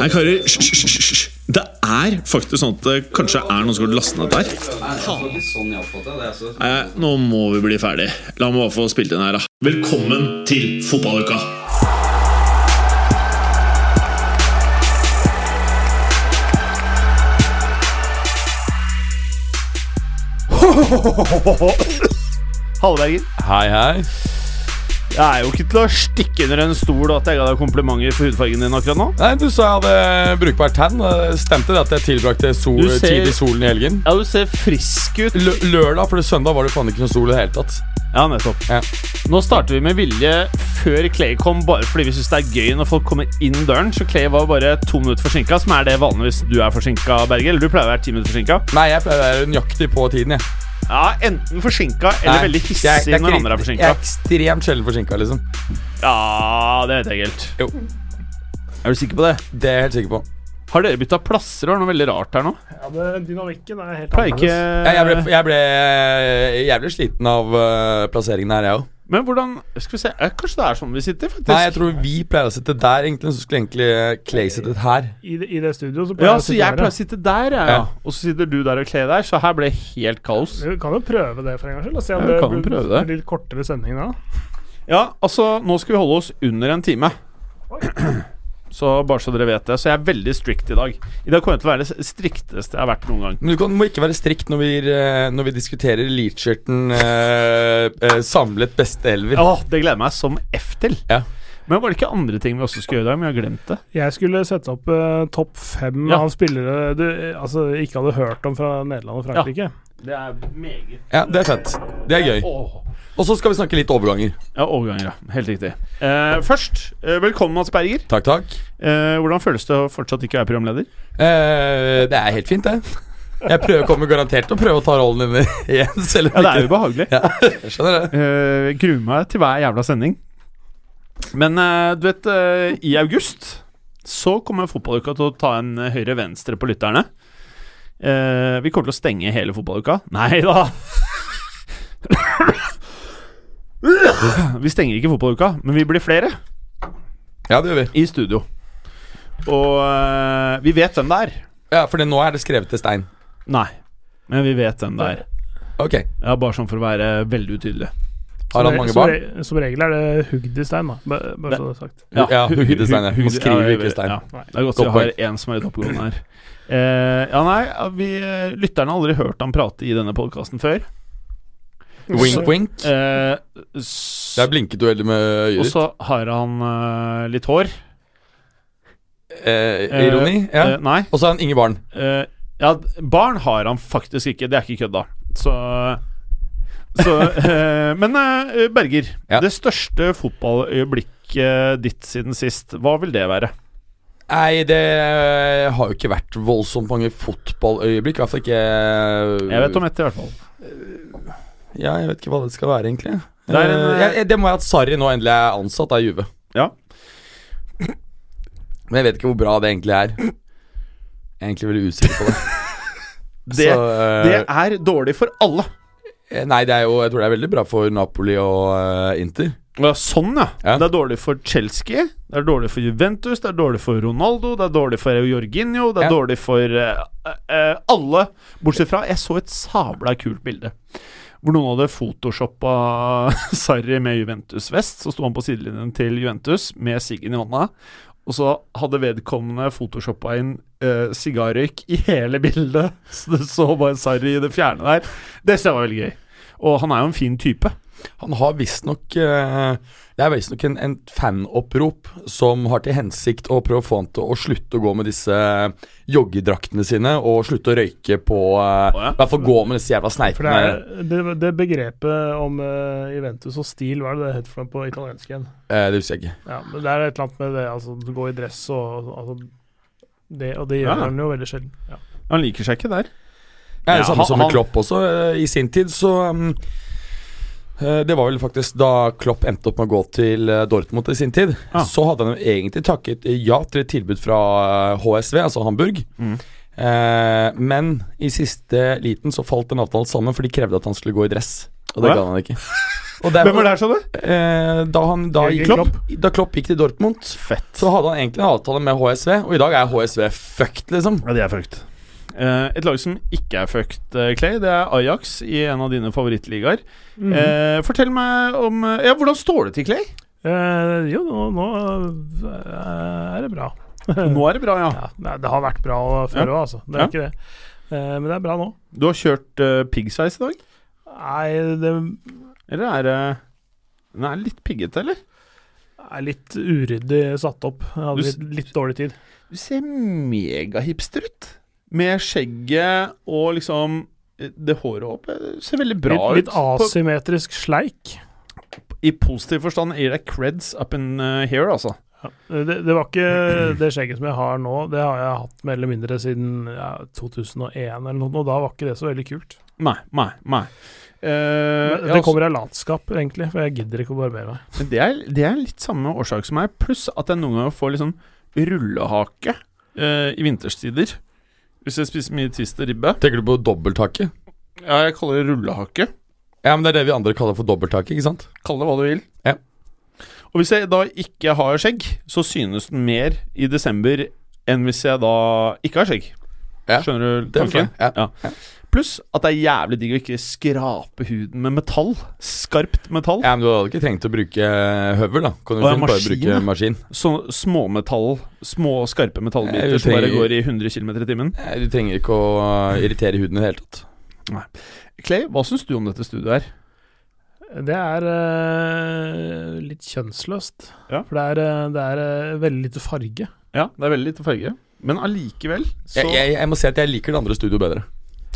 Nei, karer, hysj, hysj, hysj, hysj. Det er faktisk sånn at det kanskje er noen som går til å laste ned dette her. sånn altså. Nei, nå må vi bli ferdig. La meg bare få spilt inn her, da. Velkommen til fotballuka! Hallberger. Hei, hei. Jeg er jo ikke til å stikke under en stol at jeg ga deg komplimenter for hudfargen din akkurat nå. Nei, Du sa jeg hadde brukbart tann. Eh, Stemte det at jeg tilbrakte sol, Du ser- tid i solen i helgen? Ja, du ser frisk ut. Lø lørdag, for det søndag var det faen ikke noe sol i det hele tatt. Ja, nettopp. Ja. Nå starter vi med vilje før Clay kom, bare fordi vi syns det er gøy når folk kommer inn døren. Så Clay var bare to minutter forsinka, som er det vanligvis du er forsinka, Berger. Eller du pleier å være ti minutter forsinka. Nei, jeg pleier å være nøyaktig på tiden. jeg Ja, enten forsinka eller Nei, veldig jeg er- hissig jeg er når ikke- andre er Jeg forsinka. er ekstremt sjelden forsinka, liksom. Ja, det vet jeg ikke helt. Jo, Er du sikker på det? Det er jeg helt sikker på. Har dere bytta plasser? Det var noe veldig rart her nå. Ja, det, dynamikken er helt Pleier ikke Jeg, jeg, ble, Eh. jeg, ble, jeg ble sliten av eh, plasseringen her, jeg òg. Men hvordan Skal vi se eh, Kanskje det er sånn vi sitter, faktisk. Nei, jeg tror vi pleier å sitte der, egentlig. Så skulle egentlig eh, Clay sittet her. I det, i det studio så Ja, pleier så å jeg sitere. pleier å sitte der, jeg, ja. Ja. og så sitter du der og Clay der, så her ble det helt kaos. Vi kan jo prøve det for en gangs skyld. og Se om Ja, vi det kan jo blir prøve det. blir litt kortere sending da. Ja, altså, nå skal vi holde oss under en time. Så bare så dere vet det. Så jeg er veldig strict i dag. I dag kommer jeg til å være det strikteste jeg har vært noen gang. Men du kan, må ikke være strikt når vi, eh, når vi diskuterer Leachurton eh, eh, samlet beste elver. Åh, det gleder jeg meg som F til. Ja. Men var det ikke andre ting vi også skulle gjøre i dag, men jeg har glemt det? Jeg skulle sette opp eh, topp fem Ja. av spillere du eh, altså, ikke hadde hørt om fra Nederland og Frankrike. Det er meget Ja, det er fett. Det er gøy. Åh. Og så skal vi snakke litt overganger. Ja, overganger, ja. Helt riktig. Eh, først, eh, velkommen, Mats Berger. Takk, takk. Eh, hvordan føles det å fortsatt ikke være programleder? Eh, det er helt fint, det. Jeg prøver, kommer garantert til å prøve å ta rollen din igjen. Selv Ja, om det er ikke ubehagelig. Jeg skjønner det. Eh, gruer meg til hver jævla sending. Men eh, du vet, eh, i august så kommer fotballuka til å ta en eh, høyre-venstre på lytterne. Eh, vi kommer til å stenge hele fotballuka. Nei da! vi stenger ikke fotballuka, men vi blir flere Ja, det gjør vi. i studio. Og eh, vi vet hvem det er. Ja, For det, nå er det skrevet til stein. Nei, men vi vet hvem det er. Ok. Ja, bare sånn for å være veldig utydelig. Har han Som re- mange som barn? re- Som regel er det hugd i stein, da. Bare, bare så det er sagt. Ja, hu- hugget i stein, ja. hu- Man skriver jeg ikke i vet- stein. Nei. Det er godt Godt vi har én som er litt oppegående her. Eh, ja, nei, vi, eh, lytterne har aldri hørt han prate i denne podkasten før. Wink, wink. Eh, Der blinket du veldig med og øyet ditt. så har han eh, litt hår. Eh, eh, ironi. Ja. Eh, nei. Og så har han ingen barn. Eh, ja, barn har han faktisk ikke. Det er ikke kødd, da. Så, så eh, Men eh, Berger, Ja. det største fotballøyeblikket ditt siden sist, hva vil det være? Nei, det har jo ikke vært voldsomt mange fotballøyeblikk. I hvert fall ikke Jeg vet om ett, i hvert fall. Ja, jeg vet ikke hva det skal være, egentlig. Det er en, Eh, jeg, jeg- det må være at Sarri nå endelig er ansatt av Juve. Ja. Men jeg vet ikke hvor bra det egentlig er. Jeg er egentlig veldig usikker på det. Det, Så, det eh, er dårlig for alle. Nei, det er jo Jeg tror det er veldig bra for Napoli og eh, Inter. Ja, sånn, ja. Ja. Det er dårlig for Chelsea, det er dårlig for Juventus, det er dårlig for Ronaldo, det er dårlig for Jorginho, det er Ja. dårlig for eh, eh, alle. Bortsett fra Jeg så et sabla kult bilde hvor noen hadde photoshoppa Sarri med Juventus-vest. Så sto han på sidelinjen til Juventus med siggen i hånda. Og så hadde vedkommende photoshoppa inn eh, sigarrøyk i hele bildet. Så du så bare Sarri i det fjerne der. Det synes jeg var veldig gøy. Og han er jo en fin type. Han har visstnok eh, Det er visstnok en, en fanopprop som har til hensikt å prøve å få han til å slutte å gå med disse eh, joggedraktene sine og slutte å røyke på eh, Å ja. I hvert fall gå med disse jævla For det, sneipene. er, det, det begrepet om eh, Juventus og stil, hva er det det heter for noe på italiensk igjen? Eh, det husker jeg ikke. Ja, men det er et eller annet med det, altså du går i dress og altså, det, Og det gjør Ja. han jo veldig sjelden. Ja. Han liker seg ikke der. Ja, det Ja, samme han- som med han- Klopp også. eh, I sin tid så mm, eh, Det var vel faktisk da Klopp endte opp med å gå til eh, Dortmund i sin tid. Ah. Så hadde han jo egentlig takket ja til et tilbud fra eh, HSV, altså Hamburg. Mm. Eh, men i siste liten så falt den avtalen sammen, for de krevde at han skulle gå i dress. Og Å det ja. ga han ikke. Og det, Hvem var det her, sa du? Eh, da, han, da, Jürgen gikk, Klopp. da Klopp gikk til Dortmund, Fett. så hadde han egentlig en avtale med HSV, og i dag er HSV fucked, liksom. Ja, de er fucked. Eh, et lag som ikke er fucked, eh, Clay, det er Ajax i en av dine favorittligaer. Mm. Mhm. Eh, fortell meg om eh, Ja, hvordan står det til, Clay? Eh, jo, nå, nå eh, er det bra. Nå er det bra, ja. Ja, nei, det har vært bra før òg, altså. Det er Ja. ikke det. Eh, men det er bra nå. Du har kjørt eh, piggsveis i dag? Nei, det Eller er det Den er litt piggete, eller? er litt uryddig satt opp. Jeg Du hadde s- litt, litt dårlig tid. Du ser megahipster ut. Med skjegget og liksom eh, det håret opp. Eh, Det ser veldig bra litt, litt ut. På- asymmetrisk sleik. I positiv forstand gir deg creds up in eh, here, altså. Eh, Det, det var ikke det skjegget som jeg har nå, det har jeg hatt mer eller mindre siden ja, 2001 eller noe, og da var ikke det så veldig kult. Nei, nei, nei. Eh, Men ja, det altså- kommer av latskap, egentlig, for jeg gidder ikke å barbere meg. Men det er, det er litt samme årsak som meg, pluss at jeg noen ganger får litt sånn rullehake eh, i vinterstider. Hvis jeg spiser mye twist og ribbe. Tenker du på dobbelthake? Ja, jeg kaller det rullehake. Ja, men det er det vi andre kaller for dobbelthake, ikke sant? Kall det hva du vil. Ja. Og hvis jeg da ikke har skjegg, så synes den mer i desember enn hvis jeg da ikke har skjegg. Ja, Skjønner du Det er tanken? fint. Ja. Pluss at det er jævlig digg å ikke skrape huden med metall. Skarpt metall. ja, men du hadde ikke trengt å bruke eh, høvel, da. Kan du Å, ja, fint bare maskin, bruke ja. maskin? Sånne småmetall, Sånn små skarpe metallbiter Jeg som bare trenger- går i 100 km i timen. Eh, Du trenger ikke å eh, irritere huden i det hele tatt. Clay, hva syns du om dette studioet her? Det er eh, litt kjønnsløst, Ja. for det er, eh, det er eh, veldig lite farge. Ja, det er veldig lite farge, men allikevel så Jeg, jeg, jeg må si at jeg liker det andre studioet bedre.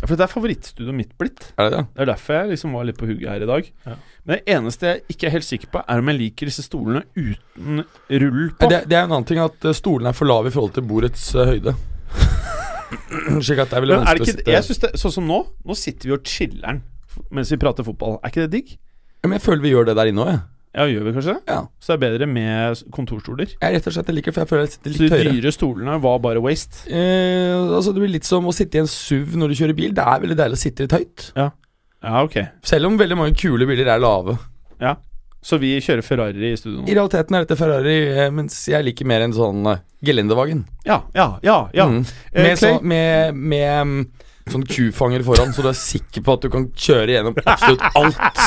For dette er favorittstudioet mitt blitt. Er det det? Det er derfor jeg liksom var litt på hugget her i dag. Ja. Men det eneste jeg ikke er helt sikker på, er om jeg liker disse stolene uten rull på. Det, det er en annen ting at eh, stolene er for lave i forhold til bordets eh, høyde. Slik at det er veldig Men er vanskelig det å ikke, sitte jeg synes det, Sånn som nå, nå sitter vi og chiller'n mens vi prater fotball. Er ikke det digg? Ja, Men jeg føler vi gjør det der inne òg, jeg. Ja, gjør vi kanskje det? Ja. Så det er bedre med kontorstoler. Jeg rett og slett jeg liker det, for jeg føler jeg sitter Så de litt høyere. dyre stolene var bare waste. Eh, altså Det blir litt som å sitte i en SUV når du kjører bil. Det er veldig deilig å sitte litt høyt. Ja, ok. Selv om veldig mange kule biler er lave. Så vi kjører Ferrari i studio nå. I realiteten er dette Ferrari, eh, mens jeg liker mer en sånn eh, gelendevagen. Ja, ja, ja. ja. Mm. Eh, Clay? Med, så, med, med mm, sånn kufanger foran, så du er sikker på at du kan kjøre gjennom absolutt alt.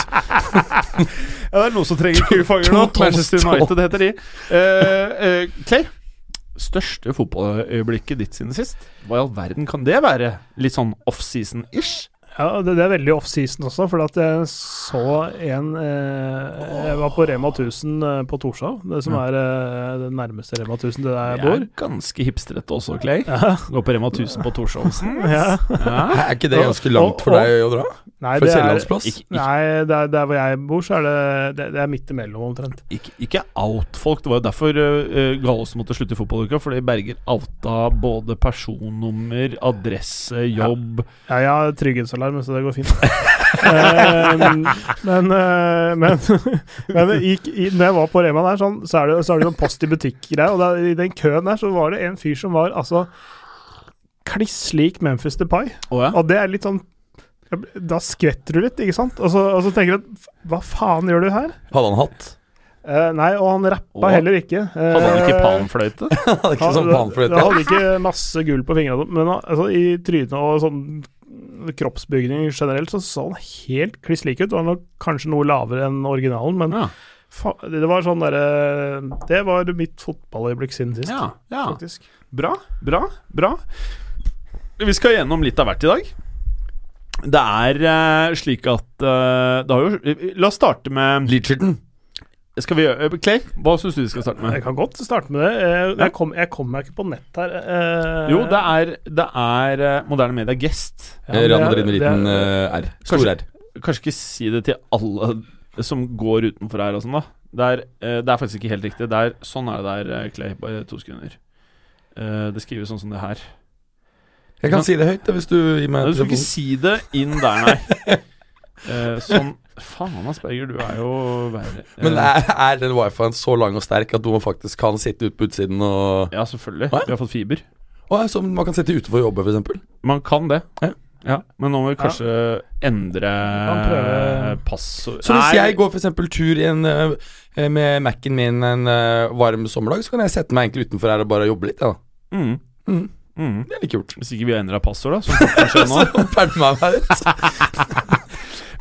Ja, det er noen som trenger kufanger to nå. tonn Manchester stål. United heter de. Eh, eh, Clay, største fotballøyeblikket ditt siden sist? Hva i all verden kan det være? Litt sånn offseason-ish? Ja, det, det er veldig off-season også, for at jeg så en eh, Jeg var på Rema 1000 eh, på Torshov, det som er eh, det nærmeste Rema 1000 til der jeg Det bor. er ganske hipstrete også, Clay. Ja, Gå på Rema 1000 på Torshovsen. ja. Ja. Er ikke det ganske langt for deg å dra? Nei, For det er, Kiellandsplass? Ikke, ikke, nei der, der hvor jeg bor, så er det, det, det er midt imellom, omtrent. ikke, ikke out folk. Det var jo derfor uh, Gallos måtte slutte i fotballuka. Fordi Berger outa både personnummer, adresse, jobb Ja, jeg har trygghetsalarm, så det går fint. Eh, men eh, men, men det gikk, i, når jeg var på Rema der, sånn, så er det, så er det sånn post i butikk-greie. Og der, i den køen der så var det en fyr som var altså kliss lik Memphis Depay. Å ja. Og det er litt sånn jeg ble- Da skvetter du litt, ikke sant? Og så, og så tenker du at "F- hva faen gjør du her? Hadde han hatt? Eh, nei, og han rappa Å. heller ikke. Hadde han ikke Eh, palmfløyte? Hadde ikke sånn han, panfløyte. han hadde ikke masse gull på fingrene, men han- altså, i trynet og sånn kroppsbygning generelt, så så han helt kliss lik ut. Og han var kanskje noe lavere enn originalen, men Ja. fa det var sånn derre Det var mitt fotballøyeblikk siden sist, ja, ja. faktisk. Bra, bra, bra. Vi skal gjennom litt av hvert i dag. Det er eh, slik at eh, Det har jo La oss starte med Leacherton. Skal vi gjøre eh, Clay, hva syns du vi skal starte Jeg med? kan godt starte med det. Eh, Ja. Jeg kom, jeg kom meg ikke på nett her. eh, Jo, det er, det er eh, moderne media gest. ja, Ja, det er- Rander inn med det er- liten eh, R. Stor Kanskje- R. Kanskje ikke si det til alle som går utenfor her og sånn, da. Det er, eh, det er faktisk ikke helt riktig. Det er, sånn er det der, eh, Clay. Bare to sekunder. Eh, det skrives sånn som det her. Jeg kan si det høyt, det, hvis du gir Nei, meg du skal ikke telefonen. si det inn der, nei. Eh, sånn Faen, Asperger, du er jo verre. Eh, Men er, er den wifien så lang og sterk at man faktisk kan sitte ute på utsiden og Ja, selvfølgelig. Hva? Vi har fått fiber. Å, ja, Som man kan sitte utenfor og jobbe, f.eks.? Man kan det. Ja. Ja, men nå må vi kanskje endre Kan prøve- passord Så hvis jeg går for eksempel tur i en, eh, med Mac-en min en eh, varm sommerdag, så kan jeg sette meg egentlig utenfor her og bare jobbe litt. Ja. mm, Mm. mm. Det er litt kult. Hvis ikke vi har endra passord, da. Som fort kan skje nå. Så pælmer meg meg ut.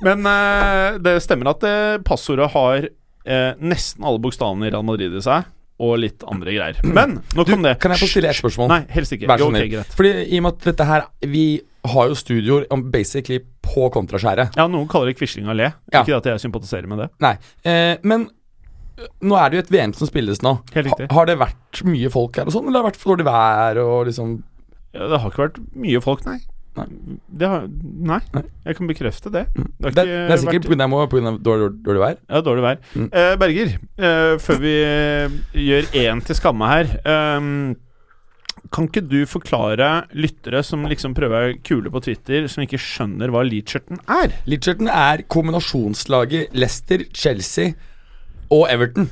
Men eh, det stemmer at eh, passordet har eh, nesten alle bokstavene i Real Madrid i seg, og litt andre greier. Men nok om det. Kan jeg få stille et spørsmål? Nei, helst ikke. Vær så Jo, ok, snill. greit. Fordi i og med at dette her Vi har jo studioer om basically på kontraskjæret. Ja, noen kaller det Quisling Allé. Ja. Ikke at jeg sympatiserer med det. Nei. Eh, men øh, nå er det jo et VM som spilles nå. Helt riktig. har det vært mye folk her og sånn, eller har det vært for dårlig vær og liksom Ja, Det har ikke vært mye folk, nei. Nei. Det har, nei. Nei. Jeg kan bekrefte Mm. det. Det, har det, ikke er sikkert vært- pga. dårlig, dårlig, dårlig vær. Ja, dårlig vær. Mm. Eh, Berger, eh, før vi eh, gjør én til skamme her ehm, Kan ikke du forklare lyttere som liksom prøver å være kule på Twitter, som ikke skjønner hva Leacherton er? Litcherton er kombinasjonslaget Leicester, Chelsea og Everton.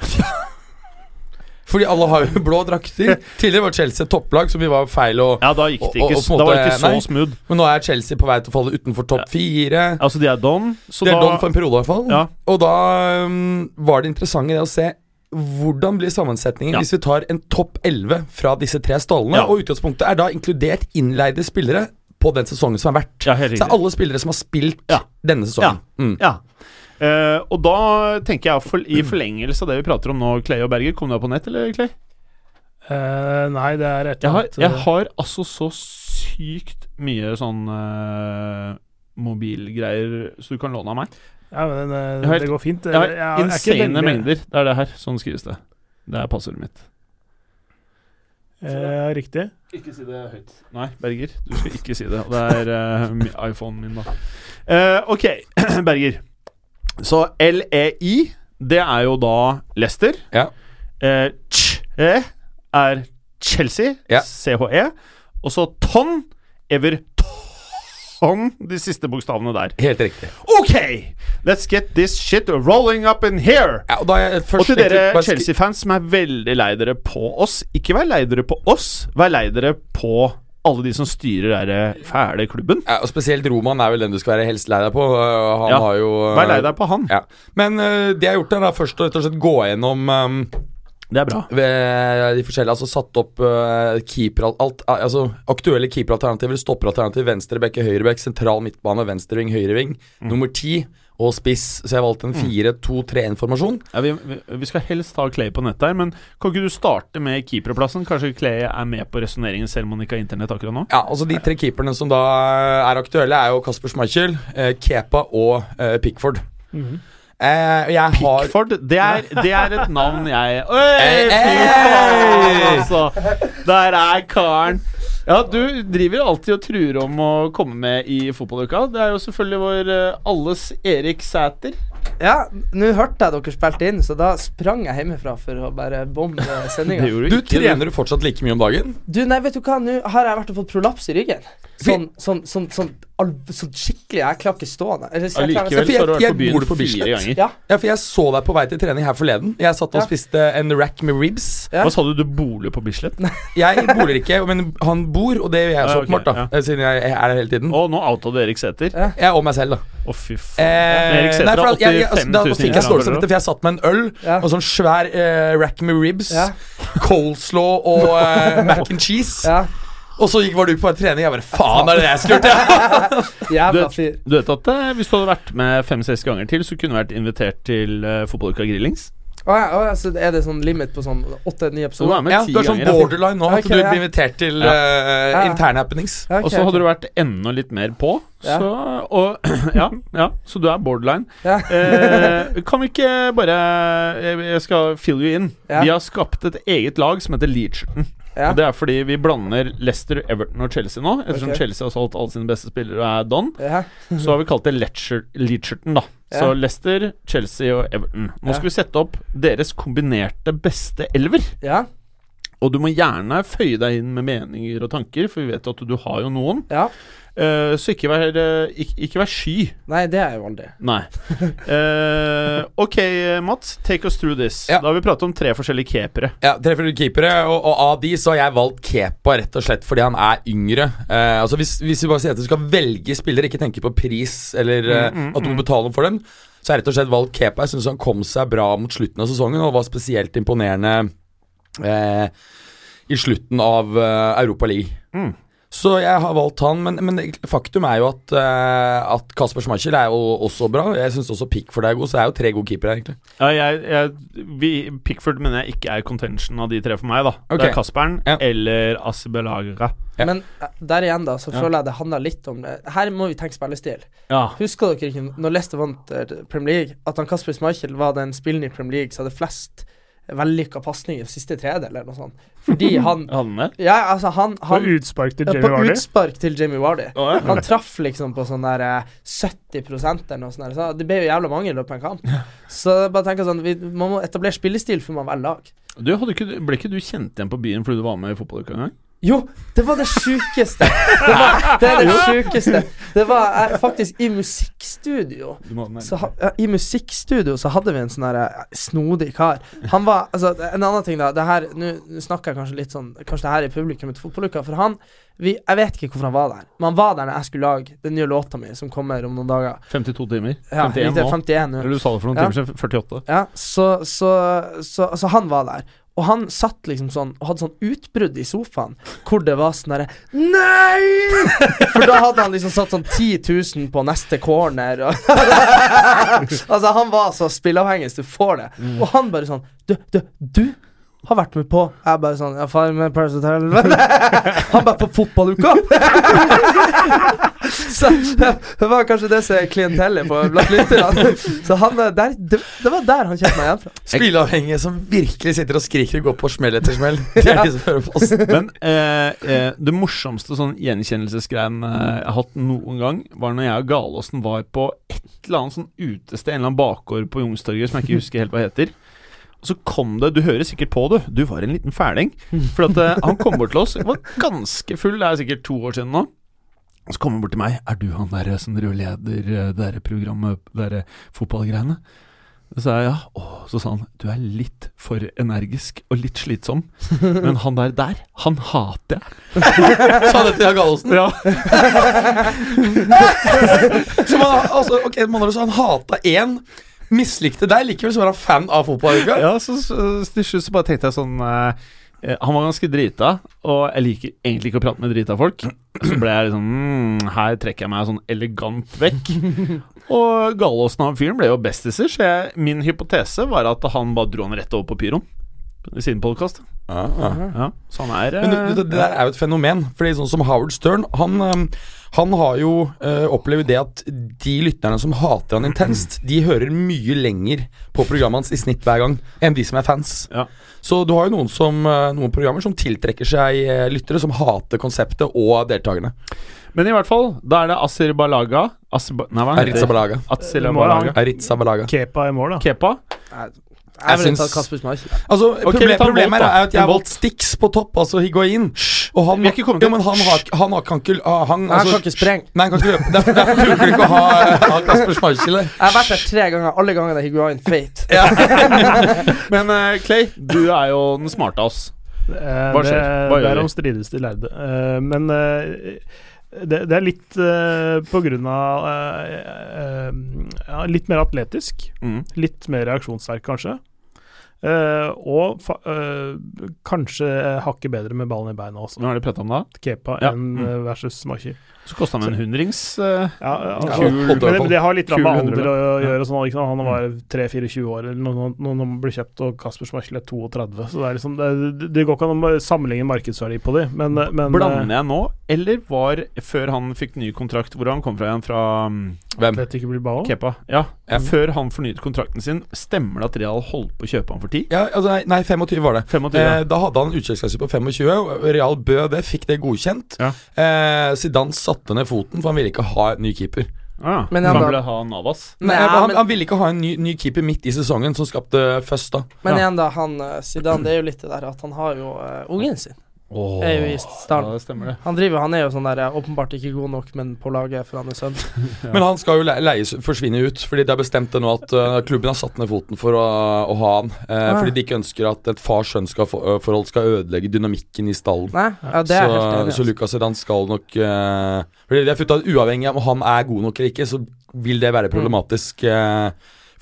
Fordi alle har jo blå drakter. Tidligere var Chelsea et topplag, så vi var feil å Ja, da gikk det Og- og ikke, på en s- da var det måte- ikke så nei. smooth. Men nå er Chelsea på vei til å falle utenfor topp fire. Altså, de er don, så Det er da Don for en periode, i hvert fall. Ja. Og da um, var det interessant i det å se hvordan blir sammensetningen Ja. hvis vi tar en topp 11 fra disse tre stallene? Ja. Og utgangspunktet er da inkludert innleide spillere på den sesongen som har vært. Ja, helt Så det riktig. er alle spillere som har spilt Ja. denne sesongen. Mm. Ja. Eh, og da tenker jeg for, i forlengelse av det vi prater om nå, Clay og Berger. Kom du deg på nett, eller, Clay? Eh, nei, det er et Jeg eller har, annet jeg har altså så sykt mye sånn eh, mobilgreier så du kan låne av meg. Ja, men eh, Jeg har- det går fint. Jeg har Jeg er ikke insane veldig- mengder. Det er det her. Sånn skrives det. Det er passordet mitt. Eh, riktig. Ikke si det høyt. Nei, Berger. Du skal ikke si det. Og Det er eh, mi- iPhonen min, da. Eh, ok, Berger. Så LEI, det er jo da Leicester. Ja. Eh, CHE er Chelsea. Ja. CHE. Og så TON. Everton. De siste bokstavene der. Helt riktig. OK! Let's get this shit rolling up in here! Ja, og da er jeg Og først til egentlig dere bare sk- Chelsea-fans som er veldig lei dere på oss, ikke vær lei dere på oss, vær lei dere på alle de som styrer denne fæle klubben. Ja, og Spesielt Roman er vel den du skal være helst lei deg på. øh, Han Ja. har jo øh, Vær lei deg på han. Ja. Men øh, det jeg har gjort, er da først å rett og slett gå gjennom um, Det er bra. ved de forskjellige, altså satt opp eh, keeper, alt, eh, altså aktuelle keeperalternativer, stopperalternativ, venstreback, høyreback, sentral midtbane, venstreving, høyreving, Mm. nummer ti og spiss. Så jeg valgte en 4-2-3-informasjon. Ja, vi, vi- vi skal helst ha Clay på nett her, men kan ikke du starte med keeperplassen? Kanskje Clay er med på resonneringen selv om han ikke har internett akkurat nå? Ja, altså De tre keeperne som da eh, er aktuelle, er jo Kasper Schmeichel, eh, Kepa og eh, Pickford. Mm-hmm. Eh, og jeg har Pickford, det er, det er et navn jeg Øy, Hey, fy hey! faen, altså! Der er karen. Ja, du driver alltid og truer om å komme med i fotballuka. Det er jo selvfølgelig vår eh, alles Erik Sæter. Ja, nå hørte jeg dere spilte inn, så da sprang jeg hjemmefra for å bare bombe sendinga. Du trener du fortsatt like mye om dagen? Du, nei, vet du hva, nå har jeg vært og fått prolaps i ryggen. Sånn, sånn, sånn, sånn, alv- sånn skikkelig. Jeg klarer ikke stå der. Eller, så jeg klarer- Allikevel så har du vært Jeg- på byen jeg bor på fire Bislett. ganger. Ja. Ja, for jeg så deg på vei til trening her forleden. Jeg satt og Ja. spiste en rack med ribs. Ja. Hva sa du, du boliger på Bislett? Jeg bor ikke, men han bor, og det gjør jeg Ja, også ok, åpenbart, da. eh, Siden jeg jeg er der hele tiden. Å, nå outa du Erik Sæter. Å, Ja. Jeg og meg selv, da. fy faen. Eh, Erik Sæter nei, for har at jeg- jeg- 85 da 000 fikk jeg ståelse for dette, for jeg satt med en øl Ja. og sånn svær eh, rack med ribs, Ja. coleslaw og eh, mac and cheese. Ja, Og så gikk, var du på trening, jeg bare Faen, det er det jeg skulle gjort, jeg! Du, jævla fyr. vet- du vet at eh, hvis du hadde vært med fem-seks ganger til, så kunne du vært invitert til eh, fotballuka Grillings? Å ja, å ja, så er det sånn limit på sånn åtte-ni Så du er episoder? med Ja, ti du er sånn ganger. ja. borderline nå, at Ok, du ja. blir invitert til Ja. eh, Ja. interne happenings. Ja, ok, Og så ok. hadde du vært enda litt mer på, Ja. så og, ja, ja, så du er borderline. Ja. Eh, kan vi ikke bare Jeg jeg skal fill you in. Ja. Vi har skapt et eget lag som heter Leacherton. Ja. Og det er fordi vi blander Leicester, Everton og Chelsea nå. Ettersom Ok. Chelsea har solgt alle sine beste spillere og er don, Ja. så har vi kalt det Lecher- Leacherton, da. Så Ja. Leicester, Chelsea og Everton. Ja. Nå skal vi sette opp deres kombinerte beste elver. ja. Og du må gjerne føye deg inn med meninger og tanker, for vi vet at du har jo noen. Ja. Eh, så ikke vær, eh, ikke, ikke vær sky. Nei, det er jeg jo aldri. Nei. Eh, ok, Mats. Take us through this. Ja. Da har vi pratet om tre forskjellige keepere. Ja, tre forskjellige keepere, og, og av de så har jeg valgt Kepa rett og slett fordi han er yngre. Eh, altså hvis, hvis vi bare sier at du skal velge spillere, ikke tenke på pris eller eh, at du må betale for dem, så har jeg rett og slett valgt Kepa. Jeg syns han kom seg bra mot slutten av sesongen og var spesielt imponerende eh, i slutten av eh, Europa League. Så jeg har valgt han, men, men faktum er jo at, eh, at Kasper Schmeichel er jo også bra. Jeg syns også Pickford er god, så det er jo tre gode keepere, egentlig. Ja, jeg, jeg, vi, Pickford mener jeg ikke er contention av de tre for meg, da. Ok. Det er Kasperen Ja. eller Asibelaga. Ja. Men eh, der igjen, da, så føler jeg det handler litt om det. Her må vi tenke spillestil. Ja. Husker dere ikke når Leicester vant eh, Premier League, at han Kasper Schmeichel var den spilleren i Premier League som hadde flest eh, vellykka pasninger i siste tredel, eller noe sånt? Fordi han Hadde han det? Ja, altså, han, På han utspark til Ja, Jamie På Vardy. utspark til Jamie Vardy. Å, ja. Han traff liksom på sånn der eh, 70 eller noe sånt. der. Så det ble jo jævla mange i løpet av en kamp. Så jeg bare tenker sånn vi, Man må etablere spillestil før man velger lag. Du, hadde ikke, du- ble ikke du kjent igjen på byen fordi du var med i fotballuka en gang? Jo, det var det sjukeste! Det, var- det er det sjukeste. Det var eh, faktisk i musikkstudio. Du må ha den her. Så, ha- ja, I musikkstudio så hadde vi en sånn her eh, snodig kar. Han var Altså, en annen ting, da. Det her Nå nå snakker jeg kanskje litt sånn Kanskje det her er publikum til fotballuka, for han vi, Jeg vet ikke hvorfor han var der, men han var der når jeg skulle lage den nye låta mi, som kommer om noen dager. 52 timer? Ja, 51 det er nå? 51 nå. Eller du sa det for noen Ja. timer siden? 48? Ja, så, så, så, så han var der. Og han satt liksom sånn og hadde sånn utbrudd i sofaen hvor det var sånn derre Nei! For da hadde han liksom satt sånn 10 000 på neste corner. Og altså, han var så spilleavhengig som du får det. Og han bare sånn Du, du, du har vært med på Jeg bare sånn Ja, far med Paris Hotel Han bare på fotballuka! Så det var kanskje det som er klientellet på blant lytterne. Så han eh, der, det, det var der han kjente meg igjen fra. Spilleavhengige som virkelig sitter og skriker og går på smell etter smell. Det er de som hører på oss. Men eh, eh, det morsomste sånn gjenkjennelsesgreien eh, jeg har hatt noen gang, var når jeg og Galåsen var på et eller annet sånn utested, en eller annen bakgård på Youngstorget som jeg ikke husker helt hva heter. Og så kom det Du hører sikkert på, du. Du var en liten fæling. For at, eh, han kom bort til oss, var ganske full, det er sikkert to år siden nå. Og så kommer han bort til meg. 'Er du han der som rørleder eh, det der programmet, det der eh, fotballgreiene?' Så sa jeg ja. Åh, så sa han 'Du er litt for energisk og litt slitsom'. Men han der der, han hater jeg. Sa det til Jan Gallosen. Ja. Som han, altså, ok, man har også, han hata én, mislikte deg, likevel så var han fan av fotballuka. ja så, så, så til slutt så bare tenkte jeg sånn eh, eh, Han var ganske drita, og jeg liker egentlig ikke å prate med drita folk. Så ble jeg liksom mm, Her trekker jeg meg sånn elegant vekk. Og Gallåsen og han fyren ble jo bestiser, så jeg, min hypotese var at han bare dro han rett over på pyroen. I sin podkast. Ja, så han er eh, Men du, du, det der er jo et fenomen. Fordi sånn som Howard Stern, han, øhm, han har jo øh, opplevd det at de lytterne som hater han intenst, de hører mye lenger på programmet hans i snitt hver gang enn de som er fans. Ja. Så du har jo noen, som, øh, noen programmer som tiltrekker seg øh, lyttere som hater konseptet og deltakerne. Men i hvert fall, da er det Aserbalaga Aserba, Nei, hva Aritza heter det? Balaga. Aserbalaga. Aritza Balaga. Kepa i mål, da. Kepa. Jeg ville syns- tatt Kasper Schmeichel. Altså, problem, vi tar problemet Volt, er da. at jeg har Volt. valgt Stix på topp, altså Higuain. Og han, vi har ikke kommet jo, til- men han, har, ikke- han har, kan ikke ah, Han, Han kan ikke sprenge. Nei, han kan ikke løpe. Derfor, derfor funker det ikke å ha, eh, ha Kasper Schmeichel der. Jeg har vært der tre ganger, alle gangene er Higuain feit. Men eh, Clay, du er jo den smarte av oss. Eh, Hva skjer? Hva gjør det, vi? derom strides de lærde. Eh, men eh, det, det er litt eh, på grunn av eh, eh, ja, Litt mer atletisk. Mm. Litt mer reaksjonssterk, kanskje. Eh, og fa eh, kanskje hakket bedre med ballen i beina også. Hvem har de prata om da? Kepa Ja, enn mm. eh, versus Machi. Så kosta han en hundrings. eh, Ja, Ja, altså, holdt- holdt i hvert men det, fall. det har litt grann Kul med hundre, alder å å ja. gjøre. og Sånn, ikke sant? Han var 3-24 år eller noe- noe- når han ble kjøpt, og Kasper Schmeichel er 32. Så det, er liksom, det, det går ikke an å sammenligne markedsverdi på de, men, men eh, Blander jeg nå, eller var før han fikk ny kontrakt Hvor han kom fra igjen? Fra mm, Hvem? Atletico Bilbao Kepa. Ja. Ja. Før han fornyet kontrakten sin, stemmer det at Real holdt på å kjøpe han for 10? Ja, altså, nei- nei, 25 var det. 25. Eh, da hadde han utkjøpsklasse på 25. og Real Bø det, fikk det godkjent. Ja. Eh, Zidane satte ned foten, for han ville ikke ha en ny keeper. Ah, Men men han han da- ville ha Navas. Nei, Nei, han, men- han ville ikke ha en ny, ny keeper midt i sesongen, som skapte først, da. Men Ja. igjen, da, han eh, Zidane, det er jo litt det der at han har jo eh, ungen sin. Er jo i Ja, starten. det stemmer det. Han driver, han er jo sånn der eh, åpenbart ikke god nok, men på laget for han er sønn. Men han skal jo le- leies, forsvinne ut, fordi det er bestemt det nå at eh, klubben har satt ned foten for å, å ha han. eh, Ah. Fordi de ikke ønsker at et far-sønn-forhold skal ødelegge dynamikken i stallen. Nei, ja, det er jeg helt enig i. så, så altså. Lucas Zidane skal nok eh, Fordi jeg har funnet ut at Uavhengig av om han er god nok eller ikke, så vil det Mm. være problematisk eh,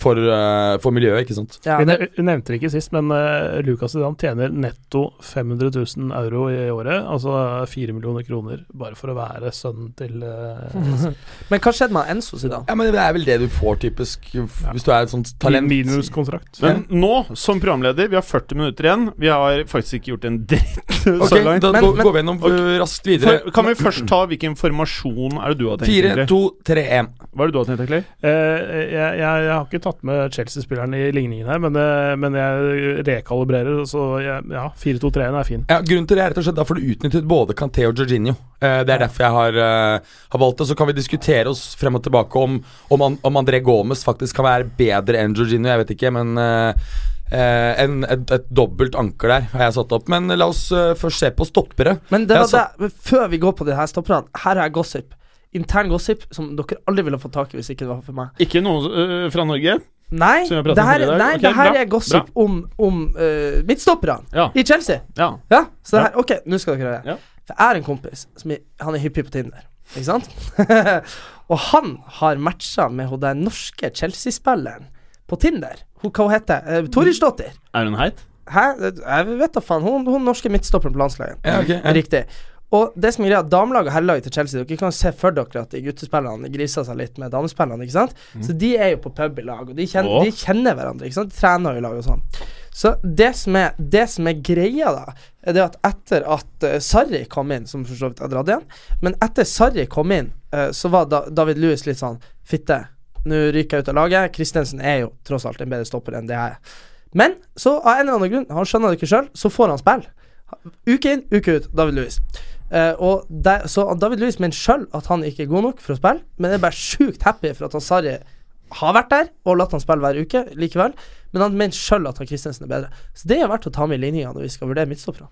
for, eh, for miljøet, ikke sant. Ja, Vi det, ne- vi nevnte det ikke sist, men eh, Lucas Zidane tjener netto 500 000 euro i året. Altså 4 millioner kroner bare for å være sønnen til eh, men hva skjedde med Enzo Zidane? Ja, men Det er vel det du får, typisk, f- hvis du er et sånt talent. Minuskontrakt. Men nå, som programleder, vi har 40 minutter igjen. Vi har faktisk ikke gjort en dritt Ok, så langt. da Men- går, men- går vi gjennom eh, raskt videre. For, kan vi først ta hvilken formasjon er det du har tenkt? Fire, egentlig? to, tre, én. Hva er det du har tenkt, Clay? Eh, jeg, jeg, jeg har ikke tatt med Chelsea-spilleren i ligningen her, men, eh, men jeg rekalibrerer, så jeg, ja, 4-2-3-en er fin. Ja, grunnen til det er rett og slett derfor du utnyttet både Kanté og Jorginho. Eh, det er derfor jeg har, eh, har valgt det. Så kan vi diskutere oss frem og tilbake om, om, An- om André Gomes faktisk kan være bedre enn Jorginho, jeg vet ikke, men eh, eh, en, et, et dobbelt anker der har jeg satt opp. Men la oss eh, først se på stoppere. Men det Ja, var så- det, men før vi går på det her stopperne, her er gossip. Intern gossip som dere aldri ville fått tak i hvis ikke det var for meg. Ikke noe øh, fra Norge? Nei, Som vi har pratet det om her, i dag? nei, Ok, det her bra, er gossip om, om eh, midtstopperne Ja. i Chelsea. ja. Ja, så det Ja. her, ok, nå skal dere høre Ja. For jeg er en kompis som er, Han er hyppig på Tinder, ikke sant? og han har matcha med hun den norske Chelsea-spilleren På Tinder Hun, Hva hun heter Eh, hun? Torisdottir Er hun heit? Hæ? Jeg vet da faen Hun, hun norske midtstopperen på landslaget Ja, ok, ja. Riktig og det som er greia, damelaget og herrelaget til Chelsea Dere kan jo se for dere at de guttespillerne griser seg litt med damespillerne, ikke sant? Mm. Så de er jo på pub i lag, og de kjenner, Åh. de kjenner hverandre, ikke sant? De trener jo i lag og sånn. Så det som, er, det som er greia, da, er det at etter at eh, Sarri kom inn, som for så vidt jeg dratt igjen, men etter Sarri kom inn, eh, så var da, David Lewis litt sånn Fitte, nå ryker jeg ut av laget. Christensen er jo tross alt en bedre stopper enn det jeg er. Men så, av en eller annen grunn, han skjønner det ikke sjøl, så får han spille. Uke inn, uke ut. David Lewis. Eh, og der, så David Lewis mener sjøl at han ikke er god nok for å spille, men er bare sjukt happy for at han Sarri har vært der og latt han spille hver uke likevel. Men han mener sjøl at han Christensen er bedre. Så det er verdt å ta med i ligninga når vi skal vurdere midtstopperne.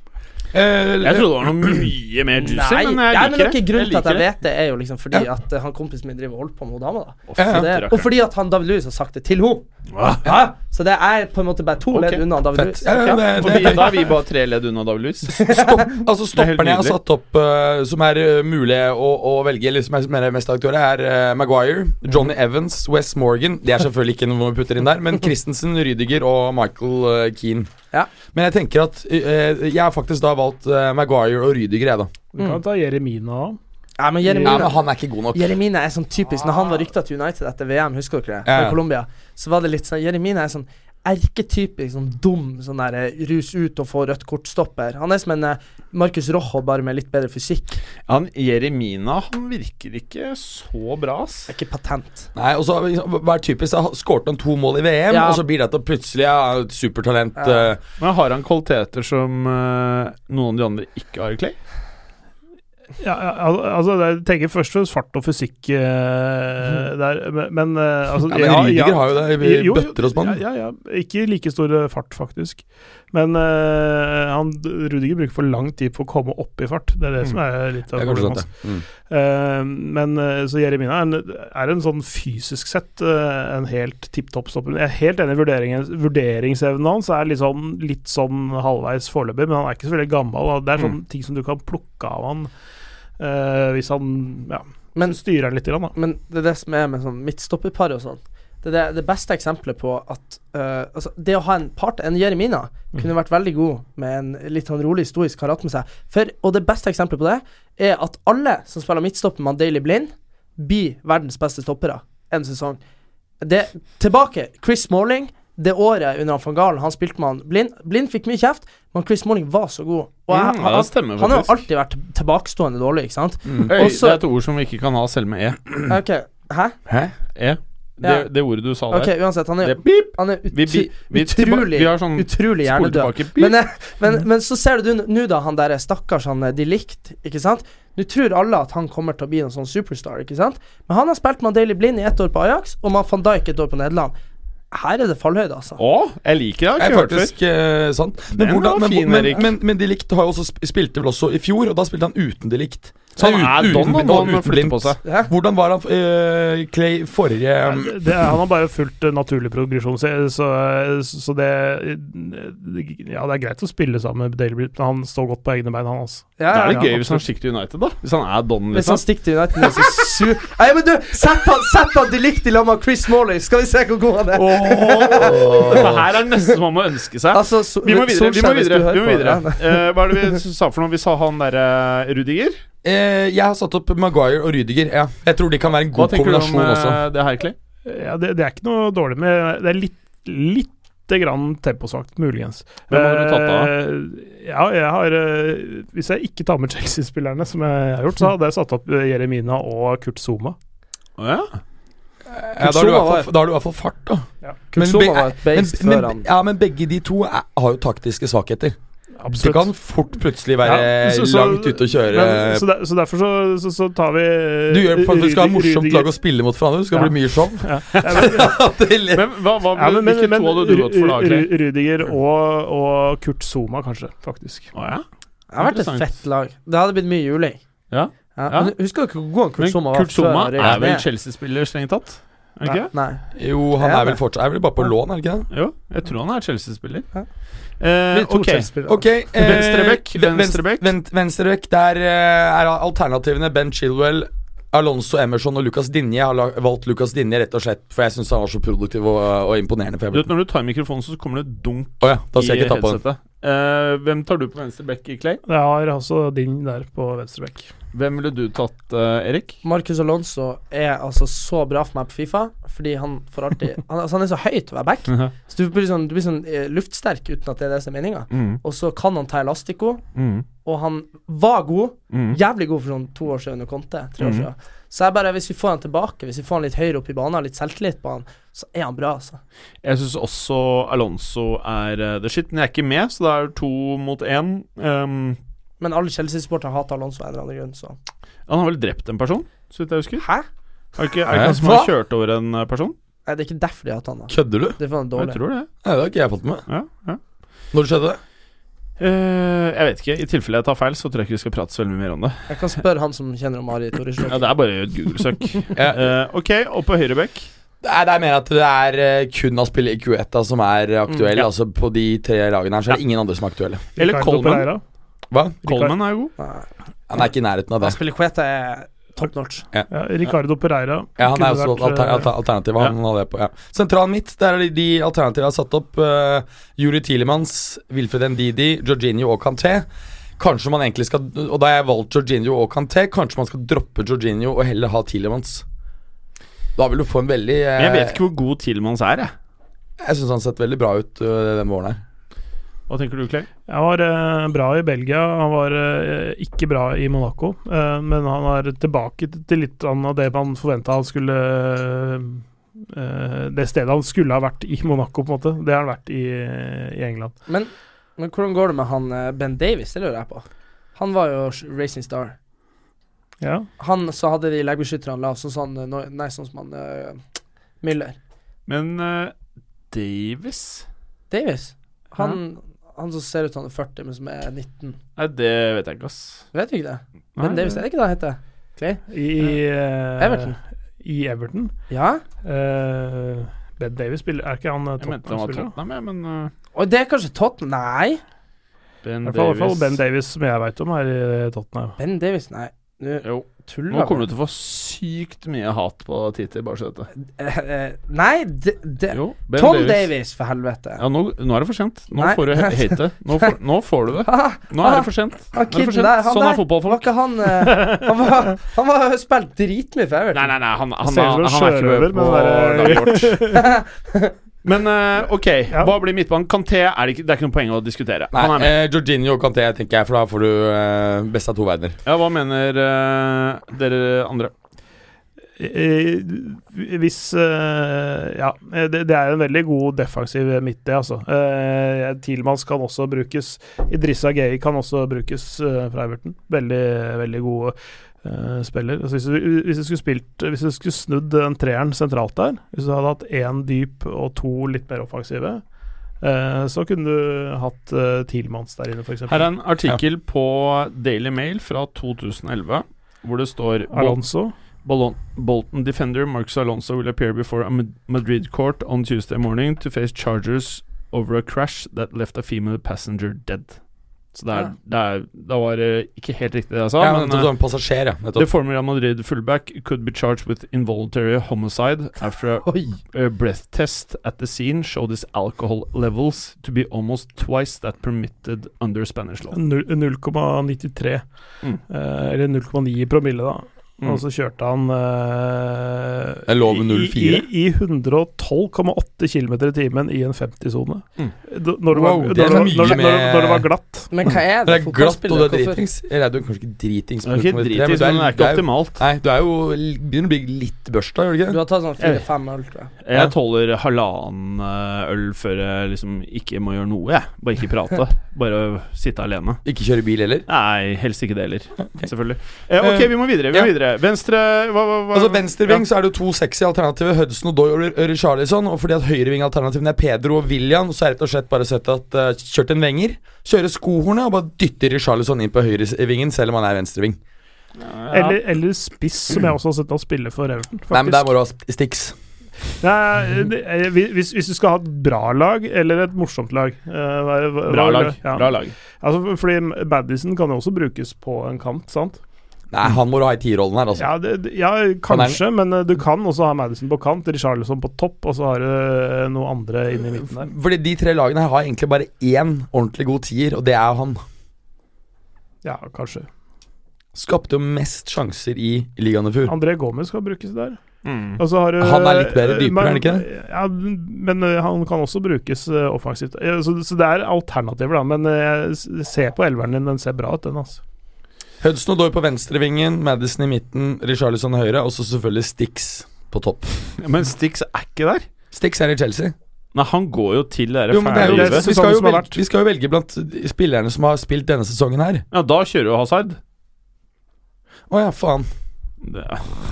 Eh, Jeg trodde det var noe mye mer juicy, Nei, men ja, jeg men liker det. noe grunn til at jeg liker det. vet det, er jo liksom fordi at eh, han kompisen min driver og holder på med hun dama, da. Ja, Så det, og fordi at han David Lewis har sagt det til henne. Ja, så det er på en måte bare to Ok, ledd unna David Fett. Lewis. Ja, ja, det, Og det, vi, da er vi bare tre ledd unna Davilis. Stopp, altså Stopperne jeg har nydelig. satt opp eh, som er eh, mulig å, å velge, eller som er som er mest aktuelle, er eh, Maguire, Johnny Evans, Wes Morgan Det er selvfølgelig ikke noe vi putter inn der, men Christensen, Rydiger og Michael eh, Keane. Ja. Men jeg tenker at eh, jeg har faktisk da valgt eh, Maguire og Rydiger, jeg, da. Du kan ta Jeremina òg. Ja, men Ja, Jeremina, men han er ikke god nok. Jeremina er sånn typisk Når han var rykta til United etter VM, husker dere det? Ja. Med Colombia. Så var det litt sånn Jeremina er sånn erketypisk sånn dum sånn der eh, rus ut og få rødt kort-stopper. Han er som en eh, Marcus Rojo, bare med litt bedre fysikk. Han Jeremina han virker ikke så bra, ass. Det er ikke patent. Nei, og så Hva er typisk? da? Skårte han to mål i VM, Ja. og så blir det at han plutselig er et supertalent. Ja. eh, Men har han kvaliteter som eh, noen av de andre ikke har, Clay? Ja, ja, al- altså, jeg tenker først og fremst fart og fysikk eh, der, men, men eh, altså, Mm. ja, men Rydiger har jo det i Jo, jo, bøtter og spann. Ja, ja, ja. Ikke like stor eh, fart, faktisk. Men eh, han, Rudiger bruker for lang tid på å komme opp i fart. Det er det Mm. som er litt av Det er kanskje problemet. sant, hans. det. Mm. Eh, men eh, så Jeremina er en, er en sånn fysisk sett eh, en helt tipp topp stopper. Jeg er helt enig i vurderingen- vurderingsevnen hans. Er litt sånn, litt sånn halvveis foreløpig, men han er ikke så veldig gammel. og Det er sånne ting som du kan plukke av han eh, hvis han ja, Men styrer han litt, grann, da. Men det er det som er med sånn midtstopperpar og sånn. Det er det, det beste eksempelet på at eh, altså, Det å ha en part, en Jeremina, Mm. kunne vært veldig god med en litt sånn rolig, stoisk karat med seg. For, og det beste eksempelet på det er at alle som spiller midtstopper med Daily Blind, blir verdens beste stoppere en sesong. Det, tilbake, Chris Smalling. Det året under han van Galen, han spilte med han Blind. Blind fikk mye kjeft, men Chris Smalling var så god. Og Mm, jeg, ja, det han, stemmer han har jo faktisk. alltid vært tilbakestående dårlig, ikke sant? Øy, Også- det er et ord som vi ikke kan ha selv med E. Ok, Hæ? Hæ? e. Det, Ja. det ordet du sa Ok, der. uansett. Han er Det pip! Han er Vi, vi, utru vi, tilba- utrolig, vi har sånn utrolig spole hjernedød. tilbake. Pip! Men, eh, men, men så ser du nå, da, han derre stakkars han eh, de likt, eh, ikke sant? Nå tror alle at han kommer til å bli en sånn superstar, ikke sant? Men han har spilt med Daily Blind i ett år på Ajax, og med van Dijk et år på Nederland. Her er det fallhøyde, altså. Å, jeg liker det. Jeg har er ikke hørt før. faktisk eh, sant. Men, Den hvordan, var men, fin, men, Erik. men, men, De Ligt har jo også sp- spilte vel også i fjor, og da spilte han uten De Ligt. Så han Nei, er uten- don, uten- han, og han uten flytter på Blind. seg. Hæ? Hvordan var han eh, Clay forrige Nei, det, han har bare fulgt eh, naturlig progresjon, så, så, så det Ja, det er greit å spille sammen med Daily Blind, men han står godt på egne bein, han altså. også. Da Ja, ja, er ja. det gøy hvis han stikker til United, da. Hvis han er don, Hvis han liksom. stikker til United nå, så sur Nei, men du, sett han, sett han de likte i lag med Chris Morley, skal vi se hvor god han er. Dette her er nesten som man må ønske seg. Altså, so Vi må videre. vi må Solskjær, hvis du videre, hører vi må på, videre. ja, nei. Eh, Hva er det vi s- sa for noe? Vi sa han derre Rudiger. Eh, jeg har satt opp Maguire og Rydiger. Ja. Jeg tror de kan være en Hva god tenker du kombinasjon om eh, også. det her, Clay? Ja, det, det er ikke noe dårlig med Det er litt, lite grann temposvakt, muligens. Hvem hadde du tatt da? Eh, ja, jeg har eh, Hvis jeg ikke tar med Chelsea-spillerne, som jeg har gjort, så hadde jeg satt opp eh, Jeremina og Kurt Zuma. Å, ja. Ja, da, har du i Zuma hvert var- fall- da har du i hvert fall fart, da. Kurt Men Zuma be- eh, var et Men, beist før men, han ja, men begge de to er, har jo taktiske svakheter. Det kan fort plutselig være Ja, så- så- langt ute å kjøre Men, så, der, så derfor så, så, så tar vi Du gjør for at du skal ha et morsomt lag og å spille mot hverandre. Det skal Ja. bli mye show. Men hva, hva, ja, men, men, Hvilke men, to hadde du gått for, da? Ru- Clay? Ru- Rudiger og, og Kurt Zuma, kanskje, faktisk. Å, ja. Det har vært et Interessant. fett lag. Det hadde blitt mye juling. Ja. men Husker dere hvor god han Kurt Men Zuma var Kurt Zuma før? er vel Real- Chelsea-spiller, strengt tatt? Er han ikke? Nei. Jo, han Ja, er vel det. fortsatt Er vel bare på lån, er det ikke det? Jo, jeg tror han er Chelsea-spiller. Ja. Eh, Blir to ok. Chelsea-spillere. Ok, eh, Venstrebekk, ven- venstrebekk. ven- venstrebekk, Der eh, er alternativene Ben Chilwell, Alonso Emerson og Lucas Dinje. Jeg har la- valgt Lucas Dinje rett og slett for jeg syns han var så produktiv og, og imponerende. For Du jeg, vet, Når du tar i mikrofonen, så kommer det dunk Å ja, da skal i jeg ikke ta på den. headsetet. Eh, hvem tar du på venstre bekk, Clay? Jeg har også din der på venstre bekk. Hvem ville du tatt, eh, Erik? Marcus Alonso er altså så bra for meg på Fifa, fordi han får alltid han, altså han er så høy til å være back, så du blir sånn, du blir sånn eh, luftsterk uten at det er det som er meninga. Mm, Og så kan han ta elastico, mm, og han var god, mm. jævlig god for sånn to år siden under Conte, tre år Mhm. siden. Så jeg bare, hvis vi får han tilbake, hvis vi får han litt høyere opp i banen, litt selvtillit på han, så er han bra, altså. Jeg syns også Alonso er eh, the shit, men jeg er ikke med, så det er to mot én. Ehm, Men alle Chelsea-sportere hater Alonso av en eller annen grunn, så han har vel drept en person, så vidt jeg husker? Hæ? Er det ikke, er det ikke han som Hva? har kjørt over en eh, person? Nei, det er ikke derfor de hater han, da. Kødder du? Det er for han er Jeg dårlig. tror det. Nei, det har ikke jeg fått med. Ja, ja. Når skjedde det? Eh, jeg vet ikke. I tilfelle jeg tar feil, så tror jeg ikke vi skal prate så veldig mye mer om det. Jeg kan spørre han som kjenner om Ari Torishov. Ja, Det er bare å gjøre et Google-søk. Ja. Eh, ok, og på høyre bekk Nei, det er mer at det er eh, kun Aspille Cueta som er aktuell. Mm, ja. Altså På de tre lagene her så er det ingen andre som er aktuelle. Eller Ricardo Coleman. Pereira. Hva? Coleman er jo god. Han er ikke i nærheten av det. Aspilicueta er top notch. Ja, Ricardo Pereira. Ja, han er også alter, Kunne vært, eh, alter, alternativet. Han hadde jeg på, ja. Sentralen mitt, der er de, de alternativene jeg har satt opp. Uh, Juri Tilemans, Wilfred Ndidi, Jorginho og Kanté. Kanskje man egentlig skal Og da har jeg valgt Jorginho og Kanté, kanskje man skal droppe Jorginho og heller ha Tilemans. Da vil du få en veldig eh, Men jeg vet ikke hvor god Tilmans er, jeg. Jeg syns han har sett veldig bra ut eh, denne våren her. Hva tenker du, Clay? Han var eh, bra i Belgia, han var eh, ikke bra i Monaco. eh, men han er tilbake t- til litt av det man forventa han skulle eh, Det stedet han skulle ha vært i Monaco, på en måte. Det har han vært i, i England. Men, men hvordan går det med han eh, Ben Davies? Det lurer jeg på. Han var jo sh- Racing Star. Ja. Han så hadde de legbeskytterne lavt, sånn som han, eh, Nor- Nei, sånn som han eh, Müller. Men eh, Davis Davies? Han, han som ser ut som han er 40, men som er 19. Nei, det vet jeg ikke, ass. Vet du ikke det? Nei, Ben Davies, er det ikke det han heter? Clay? I eh, Everton. I Everton. Ja? Eh, ben Davies spiller Er ikke han eh, Jeg mente han var Tottenham-spiller? da? Tottenham, jeg, men eh, Og det er kanskje Tottenham? Nei. Ben I hvert fall- i hvert fall Davies. Ben Davies, som jeg veit om, er i eh, Tottenham. Ben Davies, nei. Nå Jo. tuller Nå kommer du til å få sykt mye hat på Titi, bare så du vet det. Eh, Nei, det, det. Jo, Ben Tom Davies, for helvete. Ja, nå, nå er det for sent. Nå Nei. får du he- hate. Nå får, nå får du det. Ah, Nå er det for sent. Nå han er det for kidden der, sent. han Sånn der. er fotballfolk. Var ikke han eh, Han var, han var spilt dritmye for Everton. Nei, nei, nei, han, han, ser han, ut som er en ikke sjørøver, med på men det er- laget vårt. Men eh, ok, Ja. hva blir midtbanen? Kanté er det, ikke, det er ikke noe poeng å diskutere. Nei, Han er med. eh, Jorginho og Kanté, tenker jeg, for da får du eh, best av to verdener. Ja, hva mener eh, dere andre? eh, Hvis eh, Ja, det, det er jo en veldig god defensiv midt, det, altså. Eh, Tilmans kan også brukes. Idrissa Gay kan også brukes eh, fra Everton. Veldig, veldig god eh, spiller. Altså, hvis, du, hvis, du skulle spilt, hvis du skulle snudd den treeren sentralt der, hvis du hadde hatt én dyp og to litt mer offensive, eh, så kunne du hatt eh, Tilmans der inne, f.eks. Her er en artikkel på Daily Mail fra 2011, hvor det står Alonso. Bolon Bolton defender Marcus Alonso will appear before a Mad- Madrid court on Tuesday morning to face charges over a crash that left a female passenger dead. Så det er, det er Da var det ikke helt riktig det jeg sa, Ja, men men nettopp eh, som passasjer, ja. the Nettopp. former Real Madrid fullback could be charged with involuntary homicide after a, Oi! a breath test at the scene showed his alcohol levels to be almost twice that permitted under Spanish law. Null- 0,93. Mm. Eh, eller 0,9 i promille, da. Mm. Og så kjørte han eh, Det er lov med i- 0,4. I, i 112,8 km i timen i en 50-sone. Mm. Da- Når, Wow, det var- det da- er mye da- når, det- når, det- med- når det var glatt. Men hva er Det det? er for glatt, og du er fotballspillere? Hvorfor- dritings. Eller er du kanskje ikke dritings? Det er ikke på nummer tre, dritings, men det er du ikke er- optimalt. Nei, du er jo begynner å bli litt børsta, gjør du ikke Du det? har tatt sånn Jeg vet. fire-fem øl, tror jeg. Jeg Ja. tåler halvannen eh, øl før jeg liksom ikke må gjøre noe, jeg. Bare ikke prate. Bare sitte alene. Ikke kjøre bil heller? Nei, helst ikke det heller. Selvfølgelig. Eh, ok, vi må videre. Vi må Ja. videre. Venstre hva, hva, hva? Altså Venstreving så er det jo to sexy alternativer, Hudson og Doyle og Richarlison. Og fordi at høyrevingalternativene er Pedro og William, så er det rett og slett bare sett at eh, kjørt en venger, kjøre skohornet og bare dytter Richarlison inn på høyrevingen, selv om han er venstreving. Ja. Eller, eller spiss, som jeg også har sett han spille for Everton. Faktisk. Nei, men der må du ha st- sticks. Nei, det- eh, hvis, hvis du skal ha et bra lag, eller et morsomt lag eh, hva- hva- Bra hva- lag. Ja. Bra lag. Altså, fordi Madison kan jo også brukes på en kant, sant? Nei, han må du ha i tierrollen her, altså. Ja, det, det- ja kanskje, men eh, du kan også ha Madison på kant, Richarlison på topp, og så har du eh, noen andre inne i midten der. Fordi de tre lagene her har egentlig bare én ordentlig god tier, og det er han. Ja, kanskje. Skapte jo mest sjanser i ligaen i fjor. André Gomez skal brukes der. Mm. Og så har du Han er litt bedre eh, dypere, men- er han ikke Ja, men eh, han kan også brukes eh, offensivt. Eh, Så, så det er alternativer, da. Men eh, s- se på elveren din, den ser bra ut, den, altså. Hudson og Doyle på venstrevingen, Madison i midten, Richarlison høyre, og så selvfølgelig Stix på topp. Men Stix er ikke der. Stix er i Chelsea. Nei, han går jo til det Jo, der men det er fæle jo, det livet. vi, skal jo sesongen som har velge, vært. vi skal jo velge blant spillerne som har spilt denne sesongen her. Ja, da kjører jo Hazard. Å ja, faen. Det,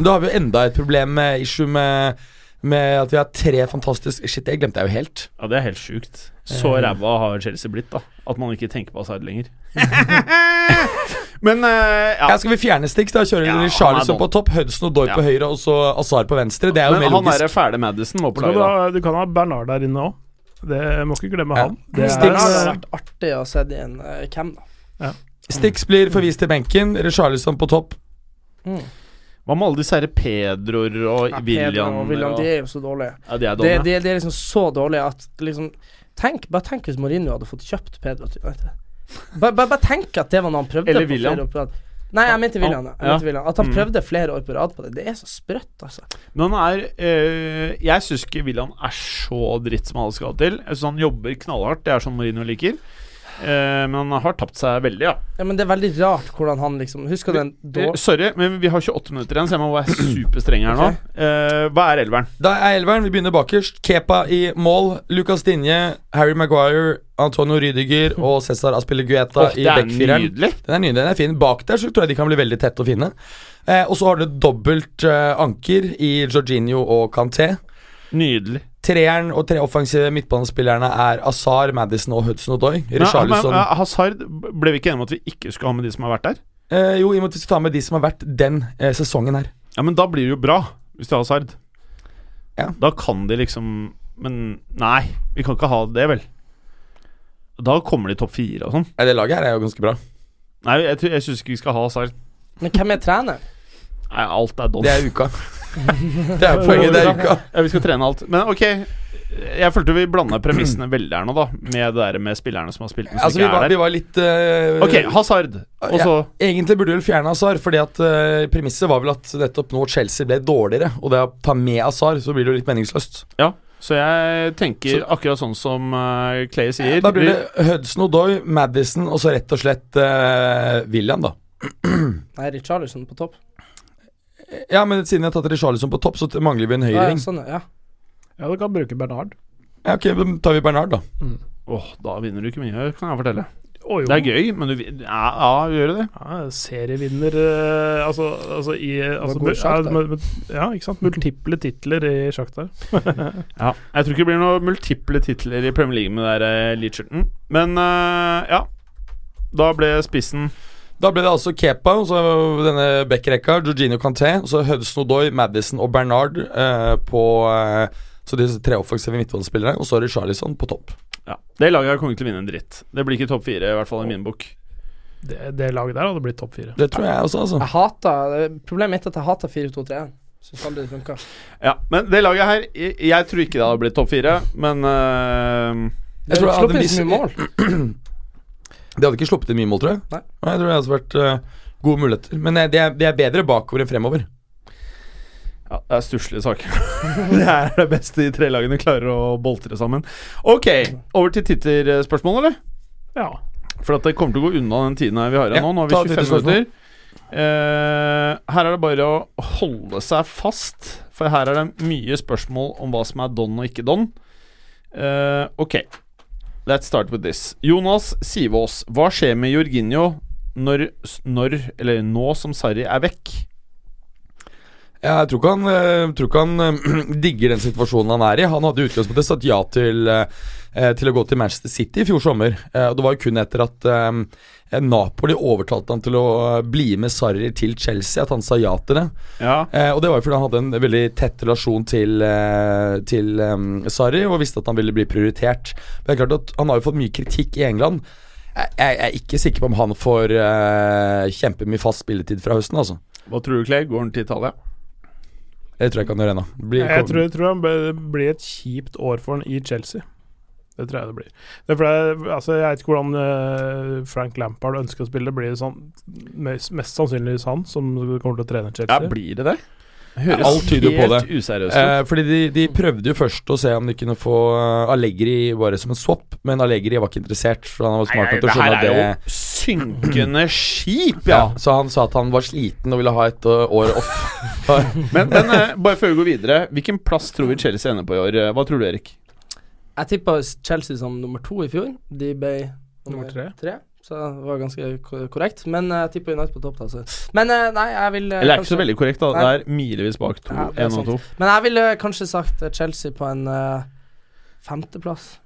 Da har vi jo enda et problem med issue med, med at vi har tre fantastiske Shit, det glemte jeg jo helt. ja, det er helt sjukt. Så Eh. ræva har Chelsea blitt, da. At man ikke tenker på Hazard lenger. Men eh, ja. Ja, Skal vi fjerne Stix? da? Kjører Ja, han ja, er Charlison dårlig. på topp, Hudson og Doyle Ja. på høyre og så Azar på venstre. Det er jo Men mer han logisk. derre fæle Madison må på Så kan laget, du, da. ha, du kan ha Bernard der inne òg. Det må ikke glemme Ja. han. Det er, Det hadde eh, vært artig å se det i en eh, cam, da. Stix blir forvist til benken, Charlison på topp. Mm. Hva med alle disse herre Pedroer og Ja, Pedro William? og William, de er jo så dårlige. Ja, de er Det, dumme. det, det er liksom så dårlig at liksom tenk, Bare tenk hvis Mourinho hadde fått kjøpt Pedro til United. Bare, bare, bare tenk at det var noe han prøvde Eller på William. flere år på rad. Nei, jeg mente William. ja. Jeg Ja. mente William. At han Mm. prøvde flere år på rad på det. Det er så sprøtt, altså. Men han er øh, Jeg syns ikke William er så dritt som alle skal ha til. Jeg synes han jobber knallhardt, det er sånn Marino liker. Eh, men han har tapt seg veldig, ja. Ja, men det er veldig rart hvordan han liksom Husker du den Eh, dårlige sorry, men vi har 28 minutter igjen, så jeg må være superstreng her nå. Ok. Eh, hva er elveren? Da er elveren. Vi begynner bakerst. Kepa i mål. Lucas Dinje, Harry Maguire, Antonio Rydiger og Cæsar Aspillegueta Åh, i det er backfireren. nydelig. Den er ny, den er fin. Bak der så tror jeg de kan bli veldig tette å finne. Eh, og så har du dobbelt eh, anker i Jorginho og Canté. Nydelig. Treeren og tre offensive midtbanespillerne er Azar, Madison og Hudson Odoi. Men, Richarlison men, eh, Hazard ble vi ikke enige om at vi ikke skulle ha med de som har vært der? eh, Jo, i og med at vi skal ta med de som har vært den eh, sesongen her. Ja, men da blir det jo bra, hvis de har Hazard. Ja. Da kan de liksom Men nei, vi kan ikke ha det, vel. Da kommer de topp fire og sånn. Nei, det laget her er jo ganske bra. Nei, jeg, tror- jeg syns ikke vi skal ha Hazard. Men hvem er treneren? Nei, alt er don. Det er uka. det er poenget, det er uka. Ja, vi skal trene alt. Men ok, jeg følte vi blanda premissene veldig her nå, da. Med det der med spillerne som har spilt, men som Altså, vi ikke var, er vi der. var litt eh, Ok, Hazard. Og så Egentlig burde du vel fjerne Azar, fordi at eh, premisset var vel at nettopp nå Chelsea ble dårligere, og det å ta med Azar, så blir det jo litt meningsløst. Ja. Så jeg tenker akkurat sånn som eh, Clay sier. Da blir det Hudson Odoi, Madison og så rett og slett eh, William, da. Nei, Richarlison på topp. Ja, men siden jeg har tatt Richarlison på topp, så mangler vi en Ja, ja, høyreving. sånn, ja. Ja, du kan bruke Bernard. Ja, ok, da tar vi Bernard, da. Åh, da vinner du ikke mye, kan jeg fortelle. Å, jo. Det er gøy, men du vin- Ja, ja gjør det det? Ja, serievinner eh, Altså, altså i eh, altså, god mul- sjakk, ja, da. mul- mul- ja, ikke sant. Multiple titler i sjakk der. Ja. Jeg tror ikke det blir noen multiple titler i Premier League med det der eh, Leacherton. Men eh, ja. Da ble spissen Da ble det altså Kepa, og så denne backrekka, Jorginho Canté, og så Hudson Odoi, Madison og Bernard eh, på eh, Så disse tre offensive midtbanespillerne, og så Richarlison på topp. ja. Det laget her kommer ikke til å vinne en dritt. Det blir ikke topp fire, i hvert fall i min bok. Det, det laget der hadde blitt topp fire. Det tror jeg også, altså. Jeg hater Problemet mitt er at jeg hater 4-2-3-1. Syns aldri det funka. Ja, Men det laget her Jeg, jeg tror ikke det hadde blitt topp fire, men eh, Jeg tror jeg slipper ikke så hadde vist- mye mål. De hadde ikke sluppet inn mye mål, tror jeg. Nei. jeg tror det hadde vært eh, gode muligheter. Men eh, de er, de er bedre bakover enn fremover. Ja, det er stusslige saker. det er det beste de tre lagene klarer å boltre sammen. Ok, over til titterspørsmål, eller? Ja. For at det kommer til å gå unna den tiden her vi har her Ja, nå. Nå ta har vi 25 titterspørsmål. minutter. Eh, her er det bare å holde seg fast, for her er det mye spørsmål om hva som er don og ikke don. Eh, ok, let's start with this. Jonas Sivås, hva skjer med Jorginho når, når eller nå som Sarri er vekk? Ja, Jeg tror ikke han, eh, tror ikke han eh, digger den situasjonen han er i. Han hadde i utgangspunktet sagt ja til, eh, eh, til å gå til Manchester City i fjor sommer. Eh, og Det var jo kun etter at eh, Napoli overtalte han til å eh, bli med Sarri til Chelsea, at han sa ja til det. Ja, Eh, og Det var jo fordi han hadde en veldig tett relasjon til, eh, til eh, Sarri og visste at han ville bli prioritert. Men det er klart at Han har jo fått mye kritikk i England. Jeg, jeg er ikke sikker på om han får eh, kjempemye fast spilletid fra høsten, altså. Hva tror du, Clay? Går han til Italia? Det tror jeg ikke han gjør ennå. Blir- Jeg tror, jeg tror han ble- det blir et kjipt år for han i Chelsea. Det tror jeg det blir. Det er fordi, altså, jeg vet ikke hvordan eh, Frank Lampard ønsker å spille. Det blir sånn, mest, mest sannsynligvis han som kommer til å trene Ja, Chelsea. blir det det? Ja, alt tyder jo på helt useriøst ut. Eh, fordi de, de prøvde jo først å se om de kunne få eh, Allegri bare som en swap, men Allegri var ikke interessert. For han var Nei, smart nei, nok til å skjønne at Det det her er jo synkende skip, ja, ja. Så han sa at han var sliten og ville ha et eh, år off. Men, men eh, bare før vi går videre, hvilken plass tror vi Chelsea ender på i år? Eh, Hva tror du, Erik? Jeg tippa Chelsea som nummer to i fjor. De ble nummer, Nummer tre. tre. Så det var ganske ko- korrekt. Men eh, jeg tippa United på topp, da. Så. Men eh, nei, jeg vil eh, Eller det er ikke kanskje- så veldig korrekt, da. Det Nei. er milevis bak to, Ja, det er én og sant. to. Men jeg ville kanskje sagt eh, Chelsea på en eh, femteplass.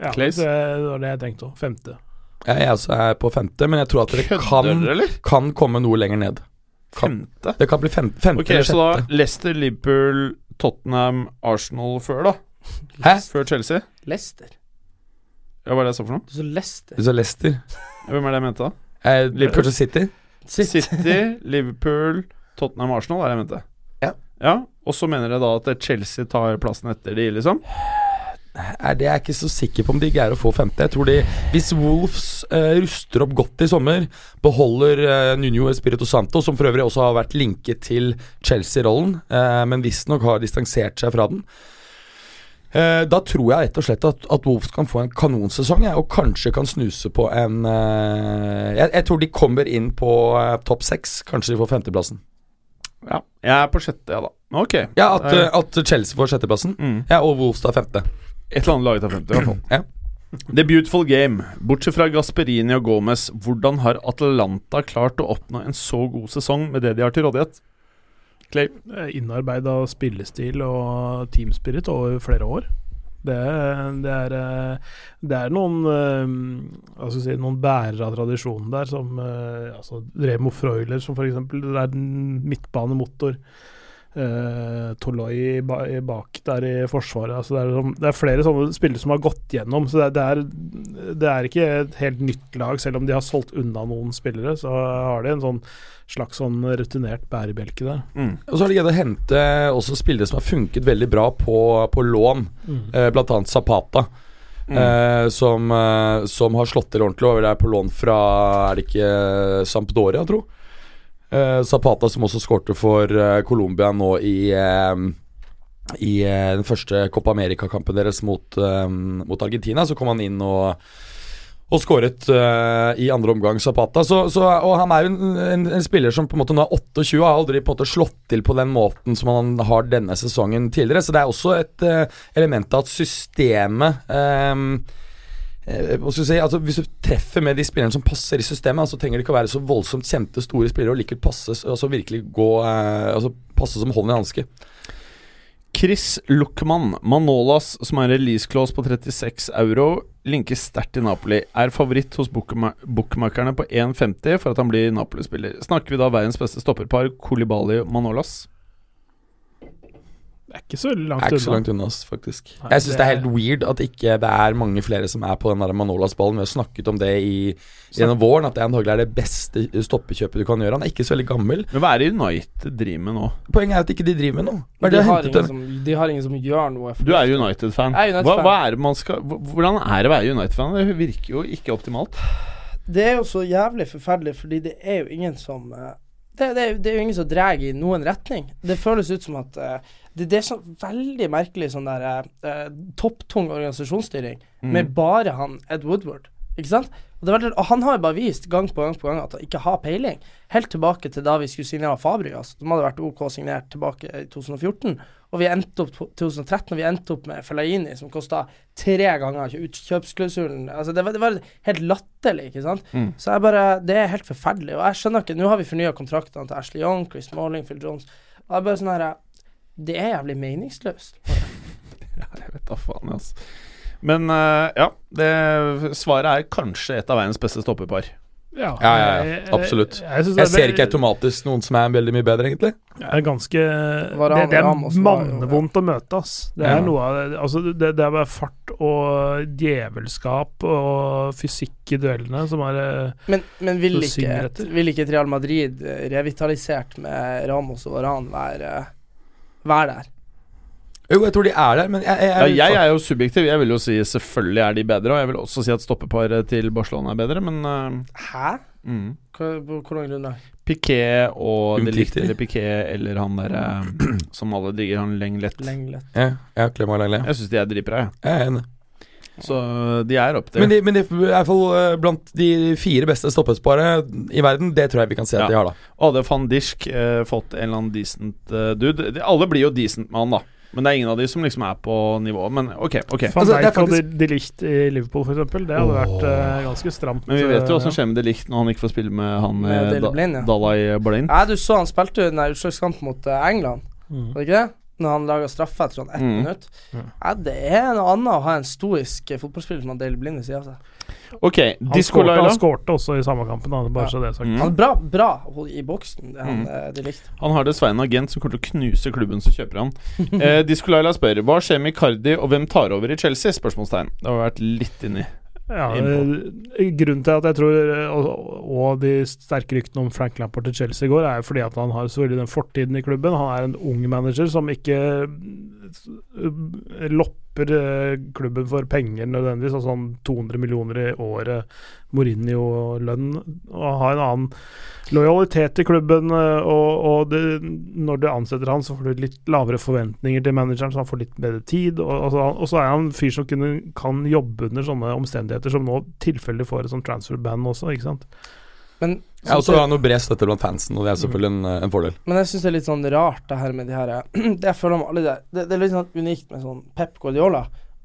Ja, det, Clays? det var det jeg tenkte òg. Femte. Jeg er også er på femte, men jeg tror at dere Kødder kan, dere, eller? kan komme noe lenger ned. Kan, Femte? det kan bli fem, femte Ok, eller så da sjette. Leicester, Liverpool, Tottenham, Arsenal før, da? Hæ? Før Chelsea? Leicester. Ja, hva er det jeg sa for noe? Du sa Leicester. Så Leicester. Hvem er det jeg mente, da? Eh, Liverpool City. City. City, Liverpool, Tottenham, Arsenal er det jeg mente. Ja. ja. Og så mener dere da at Chelsea tar plassen etter de, liksom? er det jeg er ikke så sikker på om de greier å få femte. Jeg tror de, Hvis Wolves eh, ruster opp godt i sommer, beholder eh, Nuno Espirito Santo, som for øvrig også har vært linket til Chelsea-rollen, eh, men visstnok har distansert seg fra den eh, Da tror jeg rett og slett at, at Wolves kan få en kanonsesong, jeg, og kanskje kan snuse på en eh, jeg, jeg tror de kommer inn på eh, topp seks, kanskje de får femteplassen. Ja, jeg er på sjette, ja da. Men Ok. Ja, at, Det eh, er- at Chelsea får sjetteplassen, mm. ja, og Wolves tar femte. Et eller annet laget av 50, i hvert fall. Ja. The Beautiful Game. Bortsett fra Gasperini og Gomez, hvordan har Atlanta klart å oppnå en så god sesong med det de har til rådighet? Clay. Eh, Innarbeida spillestil og teamspirit over flere år. Det, det, er, eh, det er noen eh, hva skal jeg si, noen bærere av tradisjonen der, som eh, altså Remo Freuler, som f.eks. er en midtbanemotor. Uh, Toloi ba i bak der i forsvaret. Altså det, er, sånn- det er flere sånne spillere som har gått gjennom. Så det, er- det, er, det er ikke et helt nytt lag, selv om de har solgt unna noen spillere. Så har de en sånn slags sånn rutinert bærebjelke der. Mm. Og så har de greid å hente også spillere som har funket veldig bra på, på lån, eh, blant annet Zapata. Eh, som, eh, som har slått til ordentlig og er på lån fra Er det ikke Sampdoria, tro? Eh, Zapata som også skårte for eh, Colombia nå i eh, I eh, den første Copa America-kampen deres mot, eh, mot Argentina. Så kom han inn og og skåret eh, i andre omgang Zapata. Så, så, og han er jo en, en, en spiller som på en måte nå er 28 og har aldri på en måte slått til på den måten som han har denne sesongen tidligere. Så det er også et eh, element av at systemet eh, eh, hva skal jeg si, altså Hvis du treffer med de spillerne som passer i systemet, så altså trenger det ikke å være så voldsomt kjente, store spillere og likevel passe, altså virkelig gå, eh, altså passe som hånden i hanske. Chris Luckman, Manolas, som er release-clause på 36 euro, linkes sterkt i Napoli. Er favoritt hos bookma- bookmakerne på 1,50 for at han blir Napoli-spiller. Snakker vi da verdens beste stopperpar, Kolibali og Manolas? Det er ikke så Det langt er ikke så unna. langt unna, ass, faktisk. Nei, jeg syns det det er er- helt weird at ikke det er mange flere som er på den der Manolas-ballen. Vi har snakket om det i, gjennom våren, at det antagelig er det beste stoppekjøpet du kan gjøre. Han er ikke så veldig gammel. Men hva er det United driver med nå? Poenget er at ikke de driver med noe. Hva er De det de har, hentet ingen dem? som, de har ingen som gjør noe. Du er United-fan. Jeg er United-fan. hva, hva er det man skal hv- Hvordan er det å være United-fan? Det virker jo ikke optimalt. Det er jo så jævlig forferdelig, fordi det er jo ingen som eh, Det, det, det er jo ingen som drar i noen retning. Det føles ut som at eh, det, det er så veldig merkelig sånn der eh, eh, topptung organisasjonsstyring med bare han Ed Woodward. Ikke sant? Og, det er veldig, og han har jo bare vist gang på gang på gang at han ikke har peiling. Helt tilbake til da vi skulle signere Fabregas, som hadde vært OK signert tilbake i 2014. Og vi endte opp på 2013, og vi endte opp med Fellaini, som kosta tre ganger utkjøpsklausulen. Altså, det, var- det var helt latterlig, ikke sant. Så jeg bare, det er helt forferdelig. Og jeg skjønner ikke, nå har vi fornya kontraktene til Ashley Young, Chris Malling, Phil Jones. Og jeg er bare sånn her, det er jævlig meningsløst. Jeg vet da faen, altså. Men eh, ja, det, svaret er kanskje et av verdens beste stoppepar. Ja, Ja, ja, ja. Absolutt. Jeg, jeg, Jeg synes det er ser ikke veldig- automatisk noen som er veldig mye bedre, egentlig. Det er ganske Det, Varane det er Ramos var jo- mannevondt å møte, ass. Det er Ja. noe av det Altså, det, det er bare fart og djevelskap og fysikk i duellene som er eh, Men, men vil, Så ikke synger et, etter. vil ikke et Real Madrid eh, revitalisert med Ramos og Varan være, være der? Jo, jeg tror de er der, men jeg, jeg, Ja, jeg, jeg er jo subjektiv. Jeg vil jo si selvfølgelig er de bedre, og jeg vil også si at stoppeparet til Barcelona er bedre, men Hæ? eh, mm. Hva, på hvordan grunnlag? Piqué og Umtiti. De Ligt eller Piqué eller han derre som alle digger, han Lenglet. Lenglet. ja, ja, Clément Lenglet. Jeg syns de er dritbra, jeg. Jeg er enig. Så eh, de er opp Men der. de, men de er i hvert fall eh, blant de fire beste stoppesparere i verden. Det tror jeg vi kan si at Ja. de har, da. Og hadde van Dijk eh, fått en eller annen decent eh, dude de, Alle blir jo decent med han, da. Men det er ingen av de som liksom er på nivået. Men ok, ok. Van Altså, det er Dijk og faktisk- De- De Ligt i Liverpool, for eksempel Det hadde vært eh, ganske stramt. Men vi vet jo hva som eh, skjer med De Ligt når han ikke får spille med han Med eh, Daley Da- Blind, ja. Dalai Blind. Nei, du så han spilte jo den der utslagskampen mot eh, England, mm. var det ikke det? Når han laga straffe etter sånn ett Mm. minutt. Nei, det er noe annet å ha en stoisk eh, fotballspiller som har Dale Blind ved sida av seg. Ok, Han Disco skårte, Laila. han skårte også i samme kampen, da, bare så det er sagt. Mm. Han er bra, bra hold i boksen, det han eh, de likte. Han har dessverre en agent som kommer til å knuse klubben som kjøper han. Eh, Disco Laila spør hva skjer med Icardi, og hvem tar over i Chelsea? Spørsmålstegn. Det har vi vært litt inni. Ja, Innpå. eh, grunnen til at jeg tror eh, og, og de sterke ryktene om Frank Lampard til Chelsea i går, er jo fordi at han har selvfølgelig den fortiden i klubben. Han er en ung manager som ikke eh, lopper eh, klubben for penger nødvendigvis. Altså sånn 200 millioner i året, Mourinho-lønn. Og har en annen lojalitet til klubben. eh, Og, og det, når du ansetter han, så får du litt lavere forventninger til manageren, så han får litt bedre tid. Og, og, så, og så er han en fyr som kunne, kan jobbe under sånne omstendigheter, som nå tilfeldig får et sånt transfer-band også, ikke sant. Men, Ja, og synes så har han jo bred støtte blant fansen, og det er selvfølgelig en, eh, en fordel. Men jeg syns det er litt sånn rart, det her med de her eh, Det jeg føler om alle der Det, det er litt sånn unikt med sånn Pep Guardiola,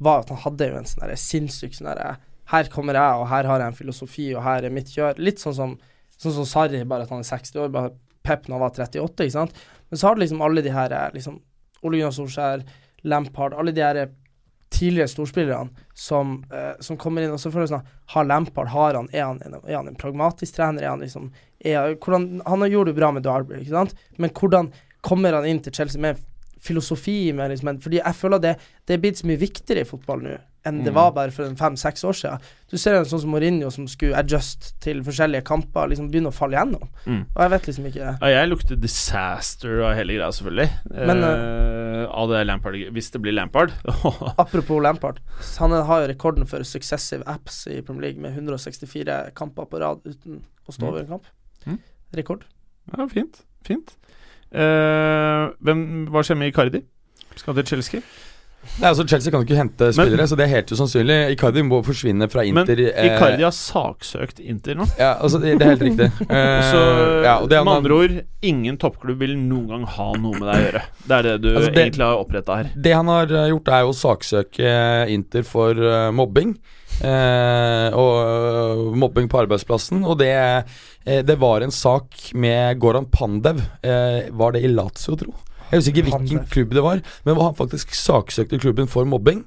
var at han hadde jo en sånn derre sinnssyk sånn derre Her kommer jeg, og her har jeg en filosofi, og her er mitt kjør. Litt sånn som Sånn som Sarri, bare at han er 60 år, bare Pep når han var 38, ikke sant. Men så har du liksom alle de her eh, liksom Ole Gunnar Solskjær, Lampard, alle de her eh, tidligere storspillerne som, eh, som kommer inn, og så føler jeg sånn Har Lampard, har han, er han, en, er han en pragmatisk trener, er han liksom er, hvordan, Han gjorde det bra med Derby, ikke sant? men hvordan kommer han inn til Chelsea med filosofi? Med liksom, en- fordi jeg føler det, det er blitt så mye viktigere i fotball nå enn Mm. det var bare for fem-seks år siden. Du ser en sånn som Mourinho som skulle adjust til forskjellige kamper, liksom begynne å falle gjennom. Mm. Og jeg vet liksom ikke Ja, jeg lukter disaster av hele greia, selvfølgelig. Men, eh, av det Lampard Hvis det blir Lampard. Apropos Lampard, han har jo rekorden for successive apps i Premier League med 164 kamper på rad uten å stå Mm. over en kamp. Mm. Rekord. ja, fint. Fint. Eh, hvem, hva skjer med Icardi? Skal til Chelsea? Nei, altså Chelsea kan jo ikke hente spillere, så det er helt usannsynlig. Icardi må forsvinne fra Men Inter. eh, Icardi har saksøkt Inter nå. Ja, altså det, det er helt riktig. Eh, Så ja, og det er- med andre ord, ingen toppklubb vil noen gang ha noe med deg å gjøre. Det er det du Altså, det- egentlig har oppretta her. Det han har eh, gjort, er jo å saksøke eh, Inter for eh, mobbing. Eh, og eh, mobbing på arbeidsplassen. Og det, eh, det var en sak med Goran Pandev. Eh, var det i Lazio, tro? Jeg husker ikke hvilken Pandev. klubb det var, men hvor han faktisk saksøkte klubben for mobbing.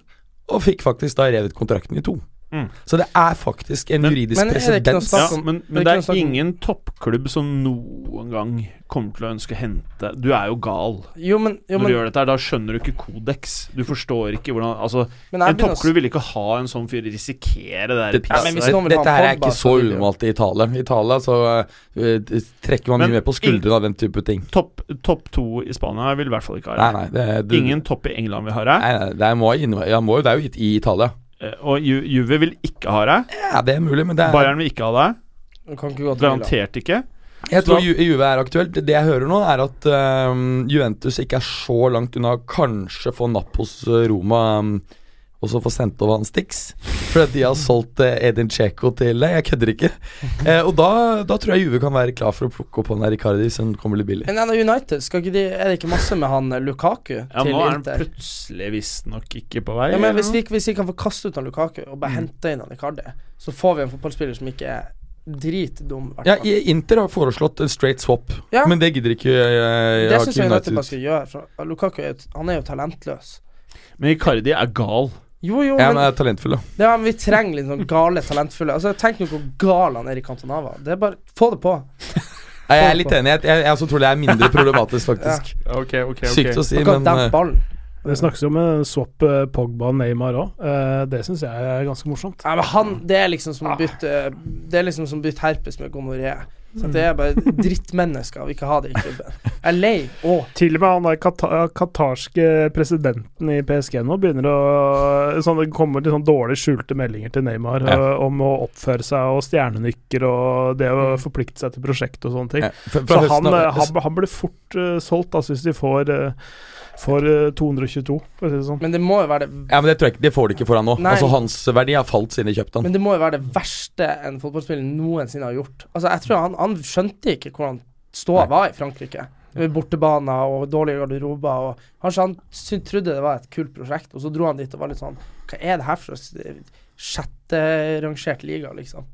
Og fikk faktisk da revet kontrakten i to. Mm. Så det er faktisk en Men- juridisk men er det ikke noe presedens. snakk Ja, om- men, det er men det ikke noe snakk er om- ingen toppklubb som noen gang kommer til å ønske å hente Du er jo gal Jo, men, jo, når du men, gjør dette her. Da skjønner du ikke kodeks. Du forstår ikke hvordan Altså, men jeg en begynner å toppklubb ville ikke ha en sånn fyr risikere det der Det- Ja, men pisset hvis der. noen vil ha Dette her er Pogba, ikke så så vil de jo- unormalt i Italia. I Italia så eh, eh, trekker man Men mye mer på skuldrene av den type ting. Topp topp to i Spania vil i hvert fall ikke Nei, ha det. nei, det, det, Ingen topp i England vil ha det. Nei, nei, det er, må, jeg innrømme. Ja, må jo, det er jo gitt i Italia. Eh, Og Ju Juve vil ikke ha deg. Ja, det er mulig, men det er, Bayern vil ikke ha deg. Du kan ikke gå til Milan. Garantert ikke. jeg tror Ju Juve er aktuelt. Det jeg hører nå, er at øhm, Juventus ikke er så langt unna å kanskje få napp hos øh, Roma øhm, og så få sendt over han Stix. Fordi at de har solgt øh, Edin Dzeko til Nei, jeg kødder ikke. Eh, og da, da tror jeg Juve kan være klar for å plukke opp han her Icardi, så han kommer litt billig. Men nei, United, skal ikke de, er det ikke masse med han eh, Lukaku Ja, til nå er han Inter? plutselig visstnok ikke på vei. Ja, men eller hvis vi, ikke- hvis vi kan få kaste ut han Lukaku og Mm. bare hente inn han Icardi, så får vi en fotballspiller som ikke er dritdum. i hvert Ja, fall. i- Inter har foreslått en straight swap, Ja. men det gidder ikke øh, det har syns ikke jeg United United. bare skal gjøre. For Lukaku er jo, t- han er jo talentløs. noe. Men Icardi er gal. Jo, jo, Ja, men, men er talentfull, da. det er, men vi trenger litt sånn gale, talentfulle Altså, Tenk nå hvor gal han er i Cantonava. Det er bare Få det på. Nei, Jeg er litt enig. Jeg, jeg, jeg også tror det er mindre problematisk, faktisk. Ok, ok, Sykt å si, Han kan men dempe øh, ballen. Det snakkes jo om eh, swap eh, Pogba og Neymar òg. Det syns jeg er ganske morsomt. Ja, men han, det er liksom som å bytte Det er liksom som å bytte herpes med gonoré. Mm. Så Det er bare drittmennesker. Vi ikke ha det i klubben. Jeg er lei. Å, Til og med han der kata katarske presidenten i PSG nå begynner å sånn, Det kommer til sånn dårlig skjulte meldinger til Neymar Ja. eh, om å oppføre seg og stjernenykker og det å forplikte seg til prosjekt og sånne ting. Mm. ja, fra- Så fra han, høsten av- eh, han, han blir fort eh, solgt, altså, hvis de får, eh, får eh, 222, for å si det sånn. men det må jo være det Ja, men Det tror jeg ikke, det får de ikke for han nå. Nei. Altså Hans verdi har falt siden de kjøpte han. Men det må jo være det verste en fotballspiller noensinne har gjort. Altså, jeg tror han, han skjønte ikke hvordan ståa var i Frankrike. Med bortebaner og dårlige garderober. Og kanskje han sy- trodde det var et kult prosjekt, og så dro han dit og var litt sånn Hva er det her for slags eh, sjetterangert liga, liksom?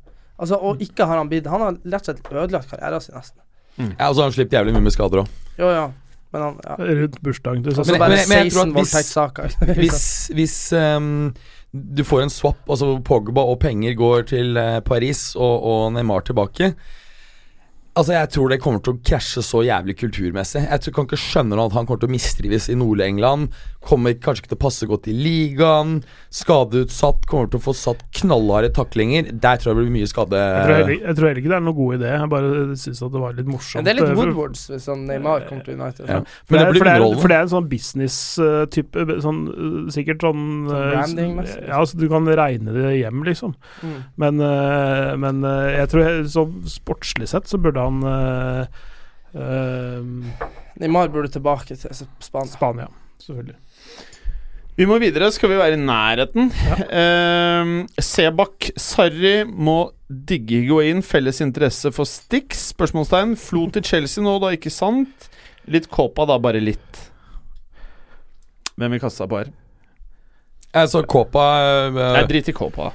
Altså, og ikke har han bidd. Han har rett og slett ødelagt karrieren sin, nesten. Ja, Og så har han slippet jævlig mye med skader òg. Jo, ja. Men han ja. Rundt bursdagen til Og så Men- søsteren. bare men- men jeg tror 16 at hvis- voldtektssaker. Liksom. Hvis, hvis ehm, du får en swap, altså Pogba og penger går til eh, Paris og, og Neymar tilbake Altså Jeg tror det kommer til å krasje så jævlig kulturmessig. Jeg tror, kan ikke skjønne nå at han kommer til å mistrives i Nord-England. Kommer kanskje ikke til å passe godt i ligaen. Skadeutsatt. Kommer til å få satt knallharde taklinger. Der tror jeg det blir mye skade. Jeg tror heller- jeg tror heller ikke det er noen god idé, jeg bare syns at det var litt morsomt. Men det er litt eh, for- Woodwards hvis han Neymar kommer til United. Ja. For Men det, det er, blir for, det er, underholdende. for det er en sånn business-type sånn, øh, Sikkert sånn, Sånn øh, branding-messig, liksom. Ja, så du kan regne det hjem, liksom. Mm. Men, øh, men øh, jeg tror jeg- sånn sportslig sett så burde han øh, øh, Neymar burde tilbake til Spania. Spania, selvfølgelig. Vi må videre, skal vi være i nærheten. Ehm, Sebak Sarri må digge Higuain. Felles interesse for Stix? Spørsmålstegn. Flo til Chelsea nå, da, ikke sant? Litt Kåpa, da, bare litt. Hvem vil kaste seg på her? Altså Kåpa eh, Jeg driter i Kåpa.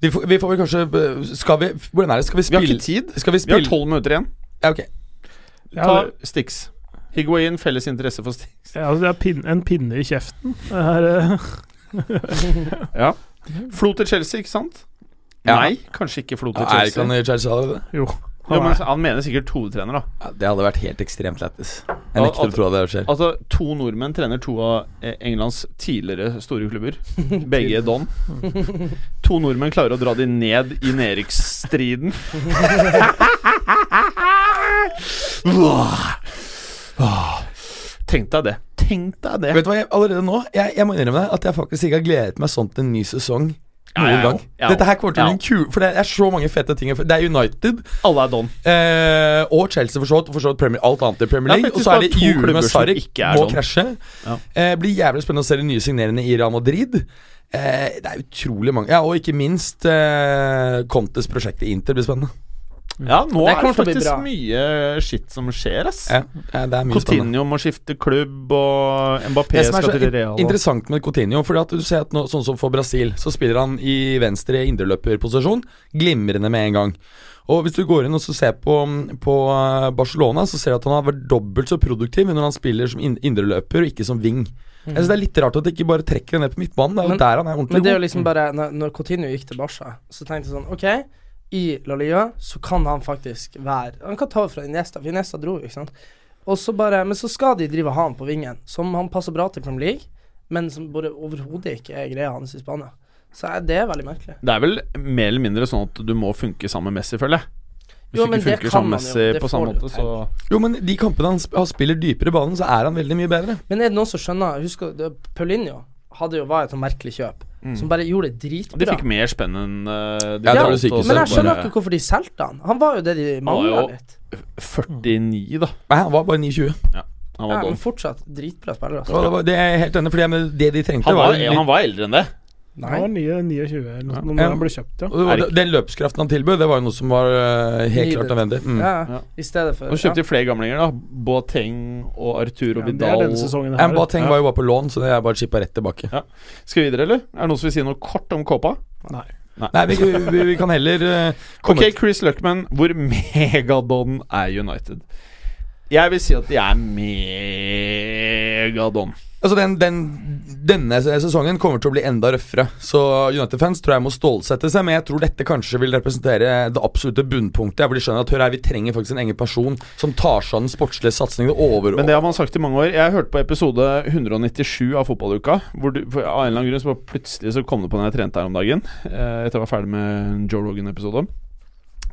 De får, vi får vel kanskje b- Skal vi Hvordan er det? Skal vi Vi har spille ikke tid. Skal vi Vi har spille tolv minutter igjen. ja, ok. Ja, Ta det- Stix. Higuain, felles interesse for Stix. ja, altså, det er pin, en pinne i kjeften. Det er, øh, Ja. Flo til Chelsea, ikke sant? Ja. Nei, kanskje ikke Flo til Er ikke han Chelsea. i Chelsea allerede? jo. Jo, men han mener sikkert hovedtrener, da. Ja, det hadde vært helt ekstremt lættis. Jeg Ja, nekter at- å tro at det skjer. Altså, to nordmenn trener to av eh, Englands tidligere store klubber. Begge er Don. To nordmenn klarer å dra de ned i nedrykksstriden. Åh. Tenk deg det. Tenk deg det. Vet du hva, jeg, Allerede nå jeg, jeg må innrømme deg at jeg faktisk ikke har gledet meg sånn til en ny sesong Ja, noen ja, ja. gang. Ja. Dette her kommer til Ja. å bli en kul For det er så mange fete ting. Det er United Alle er don. eh, og Chelsea, for så vidt. For så vidt Premier, alt annet i Premier Det er League. og faktisk så er bare det to julet klubber med som Sarek. ikke er Må sånn. krasje. Ja. Eh, blir jævlig spennende å se de nye signeringene i Real Madrid. Eh, det er utrolig mange. Ja, Og ikke minst eh, Contes prosjekt i Inter blir spennende. Ja, nå Det er det kommer til å bli faktisk bra. mye shit som skjer, ass. Ja, ja, det er mye spennende. Coutinho må skifte klubb, og Mbappé Det som er skal så til in- Real. og- interessant med Coutinho Fordi at du ser at nå, Sånn som for Brasil, så spiller han i venstre indreløperposisjon. Glimrende med en gang. Og Hvis du går inn og så ser på, på eh, Barcelona, så ser du at han har vært dobbelt så produktiv når han spiller som in- indreløper og ikke som wing. Jeg synes Det er litt rart at de ikke bare trekker det ned på midtbanen. Det er jo Men- der han er ordentlig Men det er jo god. Mm. liksom bare Når, når Coutinho gikk til Barca, så tenkte jeg sånn OK, i La Liga så kan han faktisk være Han kan ta over fra Iniesta, for Iniesta dro, jo, ikke sant. Og så bare, men så skal de drive og ha han på vingen, som han passer bra til Premier League, men som bare overhodet ikke er greia hans i Spania. Så er det veldig merkelig. Det er vel mer eller mindre sånn at du må funke sammen med Messi, føler jeg. Hvis Jo, du men ikke det funker kan sammen med man jo. Messi Det på samme får du måte, til. så Jo, men de kampene han sp han spiller dypere i banen, så er han veldig mye bedre. Men er det noen som skjønner Husker du, Paulinho hadde jo var et sånt merkelig kjøp, som bare gjorde det De dritbra. Mm. fikk mer spenn enn eh, de Ja, det valgte, var det sykeste. og så men jeg skjønner bare ikke hvorfor de solgte han. Han var jo det de var jo- mangla litt. 49, da. Nei, han var bare 29. Han Ja, var, men don. fortsatt dritbra spiller, altså. Og det, var, det er jeg helt enig i, for det, det de trengte, han, var, var, litt- han var eldre enn det. Nei. Han var nye- 29 eller noe sånt Ja. når han ble kjøpt, ja. og det var- Den løpskraften han tilbød, det var jo noe som var eh, helt klart nødvendig. Mm. Ja, Ja. ja. I stedet for Nå kjøpte de flere gamlinger, da. Boateng og Arturo ja det er Vidal. denne sesongen her. Mbateng var jo bare på lån, så det er bare chippa rett tilbake. Skal vi videre, eller? Er det noen som vil si noe kort om Kåpa? Nei, vi, vi, vi kan heller eh, komme Ok, Chris Luckman, hvor megadon er United? Jeg vil si at de er megadon. Altså den, den, Denne sesongen kommer til å bli enda røffere. Så United-fans tror jeg må stålsette seg, men jeg tror dette kanskje vil representere det absolutte bunnpunktet. Hvor de skjønner at hør her, vi trenger faktisk en egen person som tar seg av den sportslige satsingen. Det over... Men det har man sagt i mange år. Jeg hørte på episode 197 av Fotballuka. Hvor du, for av en eller annen grunn så bare plutselig så kom det på når jeg trente her om dagen. Eh, etter å være ferdig med en Joe Rogan-episode.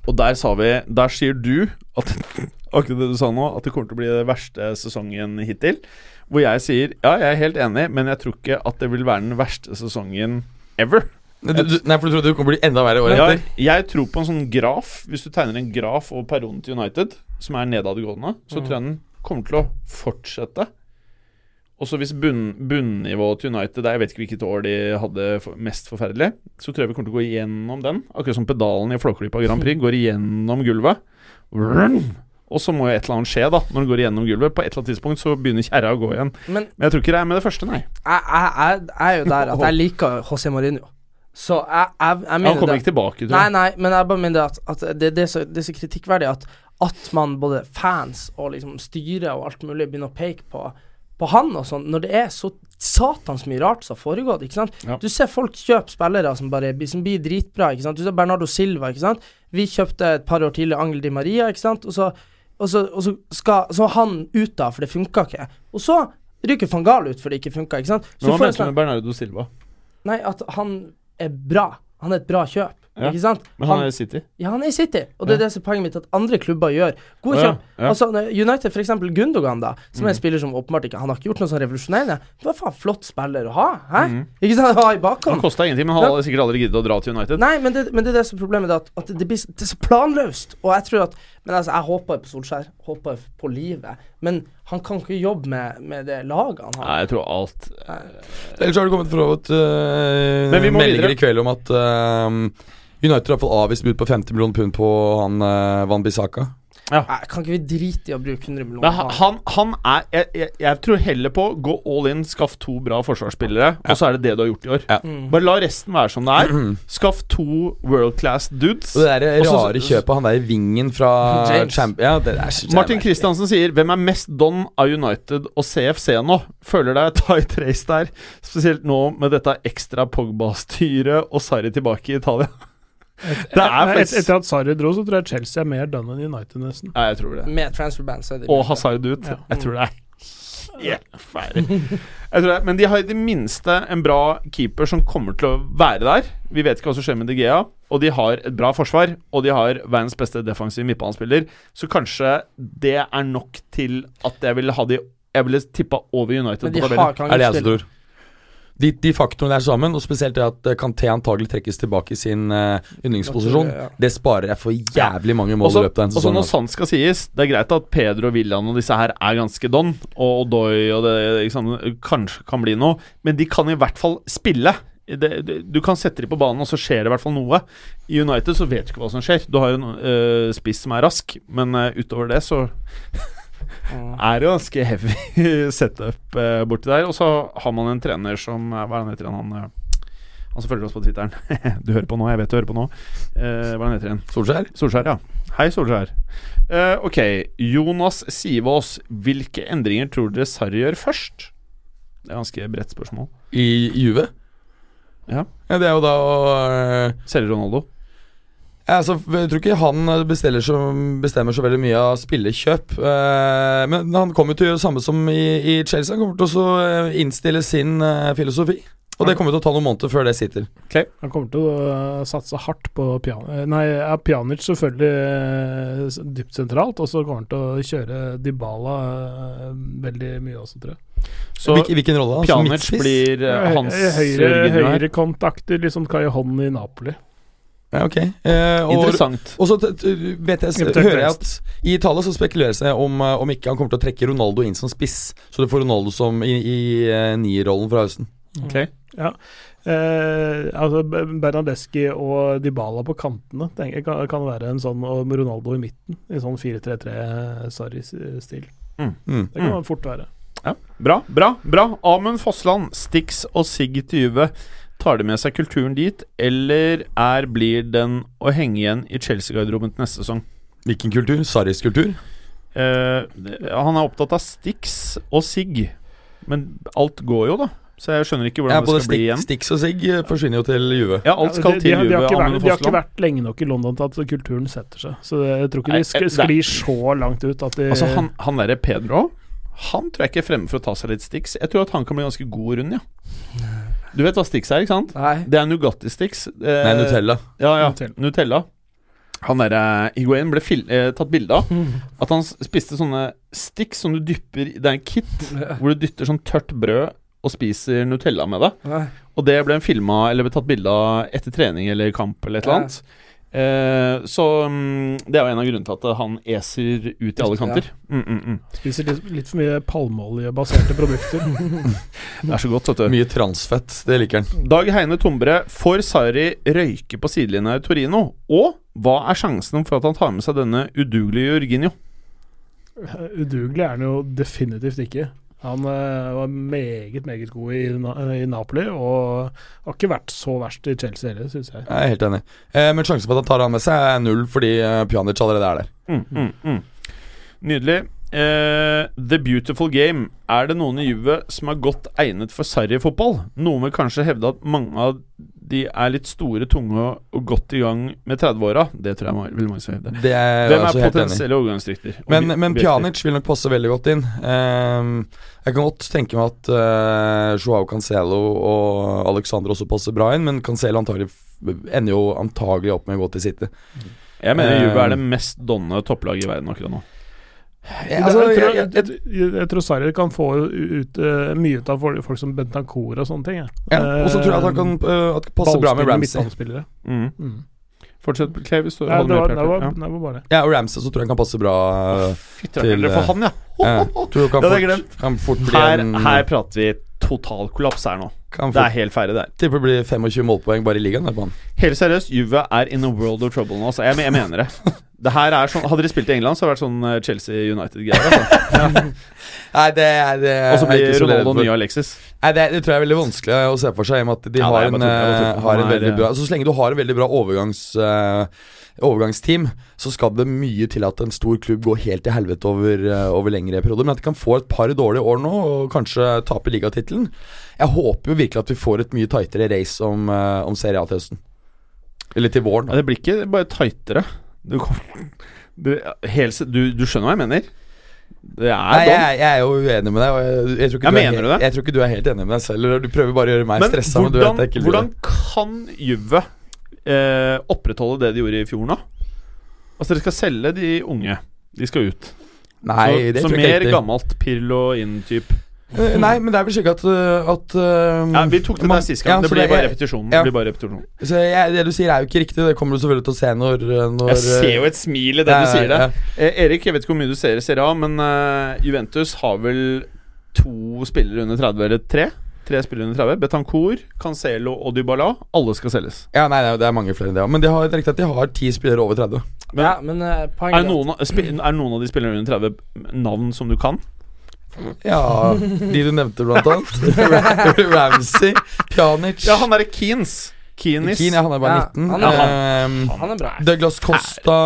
Og der sa vi Der sier du at akkurat det du sa nå, at det kommer til å bli det verste sesongen hittil. Hvor jeg sier ja, jeg er helt enig, men jeg tror ikke at det vil være den verste sesongen ever. du, du, nei, for du trodde det kommer til å bli enda verre året Ja, etter? jeg tror på en sånn graf. Hvis du tegner en graf over perioden til United, som er nedadgående, Mm. så tror jeg den kommer til å fortsette. Og så hvis bunn, bunnivået til United er Jeg vet ikke hvilket år de hadde for, mest forferdelig. Så tror jeg vi kommer til å gå igjennom den. Akkurat som pedalen i Flåklypa Grand Prix går igjennom gulvet. Vrrrn! Og så må jo et eller annet skje, da. Når den går igjennom gulvet. På et eller annet tidspunkt så begynner kjerra å gå igjen. Men Men jeg tror ikke det er med det første, nei. jeg, jeg, jeg, jeg er jo der at jeg liker José Mourinho. Så jeg, jeg, jeg Han mener kommer det. ikke tilbake, tror Nei, jeg. nei, men jeg bare mener at, at det, det, er så, det er så kritikkverdig at, at man, både fans og liksom styret og alt mulig, begynner å peke på, på han og sånn, når det er så satans mye rart som har foregått, ikke sant. Ja. Du ser folk kjøpe spillere som bare blir- som blir dritbra, ikke sant. Du ser Bernardo Silva, ikke sant. Vi kjøpte et par år tidligere Angel Di Maria, ikke sant. Og så, og så, og så skal så er han ut da, for det funka ikke. Og så ryker van Gaal ut for det ikke funka, ikke sant. Men Så hva får jeg mente du sånn- med Bernardo Silva? Nei, at han er bra. Han er et bra kjøp, Ja. ikke sant. Men han er i City. Ja, han er i City, og det er det som er poenget mitt, at andre klubber gjør Å, gode ja, kjøp. ja. Mm. Altså, når United, for eksempel Gundogan, da, som er en spiller som åpenbart ikke Han har ikke gjort noe sånn revolusjonerende. Det var faen flott spiller å ha, hæ? Ikke sant? Ha i Mm. Han bakhånd. kosta ingenting, men han hadde sikkert aldri giddet å dra til United. Nei, men det, men det er det som er problemet, det er at, at det, blir, så- det er så planløst. Og jeg tror at Men altså, jeg håper på Solskjær, håper på livet, men han kan ikke jobbe med, med det laget han har. Nei, jeg tror alt Ellers har det kommet for så vidt, eh, Men vi må meldinger videre. i kveld om at eh, United har fått avvist bud på 50 millioner pund på han eh, Van Bissaka. Nei, Kan ikke vi drite i å bruke 100 millioner? Men han, han- han er jeg, jeg, jeg tror heller på gå all in, skaff to bra forsvarsspillere, og så er det det du har gjort i år. Ja. Mhm. Bare la resten være som det er. Skaff to world class dudes. Og det der Og så- rare kjøpet, han der i vingen fra James. Champ... Ja, det er så Martin jævlig. Kristiansen sier 'Hvem er mest don av United og CFC nå?' Føler deg tight race der, spesielt nå med dette ekstra Pogba-styret og Sarri tilbake i Italia. Det er Nei, et, faktisk etter at Sarri dro, så tror jeg Chelsea er mer done enn United, nesten. Nei, jeg tror det. Mm. Med transferband, så er det Mm. og Hazard ut. Jeg tror det er helt ferdig. Jeg tror det, men de har i det minste en bra keeper som kommer til å være der. Vi vet ikke hva som skjer med De Gea. Og de har et bra forsvar, og de har verdens beste defensive midtbanespiller. Så kanskje det er nok til at jeg ville ha de Jeg ville tippa over United Men de på tabellen. har ikke altså, Er det jeg som angrepsspillere. tror? de, de faktorene der sammen, og spesielt det at eh, Kanté antagelig trekkes tilbake i sin eh, yndlingsposisjon, Naturlig, ja. det sparer jeg for jævlig mange mål Også- i løpet av en også sesong. når altså. sant skal sies, det er greit at Pedro Villan og disse her er ganske don, og Odoi og det ikke sant, kanskje kan bli noe, men de kan i hvert fall spille. Det, det, du kan sette dem på banen, og så skjer det i hvert fall noe. I United så vet du ikke hva som skjer. Du har en øh, spiss som er rask, men øh, utover det så Mm. er det jo ganske heavy setup øh, borti der. Og så har man en trener som øh, Hva er det han heter igjen? han? øh, han som følger oss på Twitteren. du hører på nå, jeg vet du hører på nå. Eh, hva er det han heter igjen? Solskjær? Solskjær, ja. Hei, Solskjær. Eh, ok, Jonas Sivås, hvilke endringer tror dere Sarri gjør først? Det er ganske bredt spørsmål. I, I Juve? Ja. ja. Det er jo da å eh, Selger Ronaldo. Ja, altså, jeg tror ikke han bestiller så, bestemmer så veldig mye av spillekjøp. Eh, men han kommer til å gjøre det samme som i, i Chelsea. Han kommer til å så, eh, innstille sin eh, filosofi. Og det kommer til å ta noen måneder før det sitter. Han kommer til å øh, satse hardt på pian eh, Nei, ja, Pjanic selvfølgelig eh, s- dypt sentralt, og så kommer han til å kjøre Dybala eh, veldig mye også, tror jeg. Så Hvilken, hvilken rolle? Altså, Pjanic midtspiss? blir eh, hans høyre, Jørgen her. høyre kontakter, liksom Cajahon i Napoli. Ja, ok. Eh, og, Interessant. og så t- t- vet jeg, Eventuelt hører jeg at i Italia så spekuleres det om, eh, om ikke han kommer til å trekke Ronaldo inn som spiss. Så du får Ronaldo som i, i eh, nierrollen fra høsten. Ok. Mm. Eh, altså B- Bernadeschi og Dybala på kantene tenker jeg kan, kan være en sånn, og Ronaldo i midten, i sånn eh, 4-3-3-Sarri-stil. Mm. Det kan Mm. fort være. Bra, bra, bra. Amund Fossland, Stix og Sigg til Juve. Tar de med seg kulturen dit, eller er blir den å henge igjen i Chelsea-garderoben til neste sesong? Hvilken kultur? Sarris kultur? Eh, det- han er opptatt av Stix og Sigg, men alt går jo, da. Så jeg skjønner ikke hvordan Ja, det både skal bli igjen. Stig- Stix og Sigg eh, forsvinner jo til Juve. Ja, alt skal Ja, de, til de, har- de, Juve. har ikke vært, Amund de har ikke Fossland. vært lenge nok i London til at kulturen setter seg. Så jeg tror ikke Nei, de eh, sk det- sklir så langt ut at de Altså, han, han derre Pedro Han tror jeg ikke er fremme for å ta seg litt Stix. Jeg tror at han kan bli ganske god rund, ja. Du vet hva Stix er, ikke sant? Nei. Det er Nugatti-Stix. Eh, Nei, Nutella. Ja, ja. Nutella. Nutella. Han derre Higuain ble fil eh, tatt bilde av. Mm. At han s- spiste sånne Stix som du dypper i Det er en kit hvor du dytter sånn tørt brød og spiser Nutella med det. Nei. Og det ble en filma eller ble tatt bilde av etter trening eller kamp eller et eller Ja. annet. Eh, så mm, det er jo en av grunnene til at han eser ut i alle kanter. Mm, mm, mm. spiser litt, litt for mye palmeoljebaserte produkter. Det er så godt, vet du. Mye transfett. Det liker han. Dag Heine Tombre, får Sarri røyke på sidelinja i Torino? Og hva er sjansen for at han tar med seg denne udugelige Jorginho? Eh, Udugelig er han jo definitivt ikke. Han eh, var meget, meget god i, Na- i Napoli, og har ikke vært så verst i Chelsea heller, syns jeg. Jeg er helt enig. Eh, men sjansen for at han tar han med seg, er null, fordi eh, Pjanic allerede er der. Mm, mm, mm. Nydelig. Eh, the Beautiful Game. Er det noen i Juve som er godt egnet for Sarri-fotball? Noen vil kanskje hevde at mange av de er litt store, tunge og- og godt i gang med 30-åra. Det tror jeg ma- vil mange som hevde. Det er jeg Hvem er altså helt enig i. potensielle overgangsdrikter? Men, men Pjanic vil nok passe veldig godt inn. Ehm, jeg kan godt tenke meg at eh, Joao Cancelo og Alexander også passer bra inn, men Cancelo antagelig f- ender jo antagelig opp med å gå til City. Jeg mener Juve er Eh, det mest donne topplaget i verden akkurat nå. Jeg, altså, jeg, tror, jeg, jeg, jeg, jeg, jeg tror Sarri kan få ut, eh, mye ut av folk, folk som Bentancour og sånne ting. jeg. ja, og så tror jeg at han kan Ehm, eh, at det passer bra med Ballspillere, Ramsey. midtballspillere. Mm. Mm. Fortsett, Clay. Hvis du Nei, holder det, var, med det, Per. var, Ja. det var bare det. Ja, og Ramsey så tror jeg han kan passe bra. eh, Fytti til, rakkeren, for han, ja! eh, tror jeg kan Det hadde jeg fort, kan fort bli Her, en- her prater vi total kollaps her nå. kan Det er fort helt ferdig, det her. tipper det blir 25 målpoeng bare i ligaen. Der, på han. Helt seriøst, Juve er in a world of trouble nå. Altså. Jeg, jeg mener det. det her er sånn, hadde de spilt i England, så hadde det vært sånn eh, Chelsea United-greier. Altså. Nei, det er det er Og så ikke blir så redd Ronaldo for. nye Alexis. Nei, det, det tror jeg er veldig vanskelig eh, å se for seg, i og med at de Ja, har, nei, jeg en, bare tror- jeg bare tror eh, har en han er- veldig bra Så så lenge du har en veldig bra overgangs, eh, overgangsteam, så skal det mye til at en stor klubb går helt til helvete over, eh, over lengre perioder. Men at de kan få et par dårlige år nå, og kanskje tape ligatittelen Jeg håper jo virkelig at vi får et mye tightere race om, eh, om Serie A til høsten. Eller til våren. Ja, da. det blir ikke bare tightere. Du, kom- du, helt, se- du, du skjønner hva jeg mener? Det er Nei, dom. jeg, jeg er jo uenig med deg. Og jeg, jeg, tror ikke Ja, du er mener helt, du det? jeg tror ikke du er helt enig med deg selv. Eller du prøver bare å gjøre meg Men stressa. Men du hvordan, vet jeg ikke vil hvordan kan Juve eh, opprettholde det de gjorde i fjor nå? Altså, dere skal selge de unge. De skal ut. det. Nei, så det så tror jeg ikke mer riktig. gammelt Pirlo inn-type. Eh, Nei, men det er vel slik at, øh, at øh, Ja, vi tok det man- der sist gang. Ja, det så blir bare er- repetisjonen. ja. Det blir bare repetisjon. Så jeg, det du sier er jo ikke riktig. Det kommer du selvfølgelig til å se når, øh, når Jeg ser jo et smil i det du sier der. Eh, Erik, jeg vet ikke hvor mye du ser i Serie A, men eh, Juventus har vel to spillere under 30, eller tre? Tre spillere under 30. Betancour, Cancelo og Dybala. Alle skal selges. Ja, nei, nei, det er mange flere enn det. ja. Men de har, det er riktig at de har ti spillere over 30. Men- ja, men eh, Er poenget noen, av- spi- er noen av de spillerne under 30 navn som du kan? Ja, De du nevnte, blant annet. Ramsey, Pjanic Ja, han derre Keanes. Keanis. Keane, ja, han er bare Ja, 19. han er Ehm, Han er bra. Douglas Costa,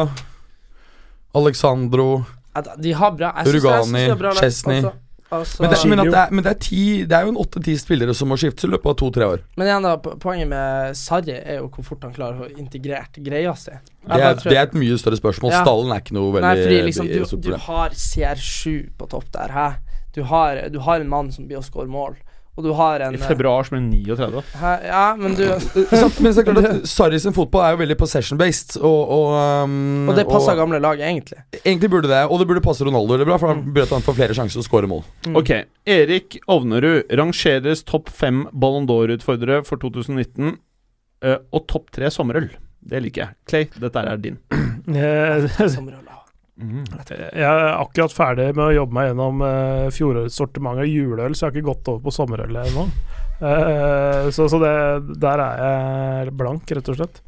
Alexandro Ja, da- De har bra. Jeg synes- jeg synes Rugani, de har bra lag, Chesney. altså. Altså- Men det, men at Gigio. det, er, men det, er, ti, det er jo en åtte-ti spillere som må skiftes i løpet av to-tre år. Men igjen da, po- poenget med Sarri er jo hvor fort han klarer å integrere greia si. Det er, det er et mye større spørsmål. Ja. Stallen er ikke noe veldig Nei, fordi liksom det er du, stort du problem. har CR7 på topp der, hæ? Du har, du har en mann som blir å score mål, og du har en eh, I februar som er 39. Hæ? Ja, men du Men sant, men så er det klart at Sarri sin fotball er jo veldig possession-based, og, og, um, Og det passer gamle lag, egentlig. Egentlig burde det, og det burde passe Ronaldo veldig bra, for Mm. da burde han få flere sjanser til å skåre mål. Ok. Erik Ovnerud rangeres topp fem Ballon d'Or-utfordrere for 2019. eh, og topp tre sommerøl. Det liker jeg. Clay, dette er din. Jeg, Som Rolla. Eh, Mm. jeg er akkurat ferdig med å jobbe meg gjennom eh, fjorårets sortiment av juleøl, så jeg har ikke gått over på sommerøl ennå. Eh, så så det, der er jeg blank, rett og slett.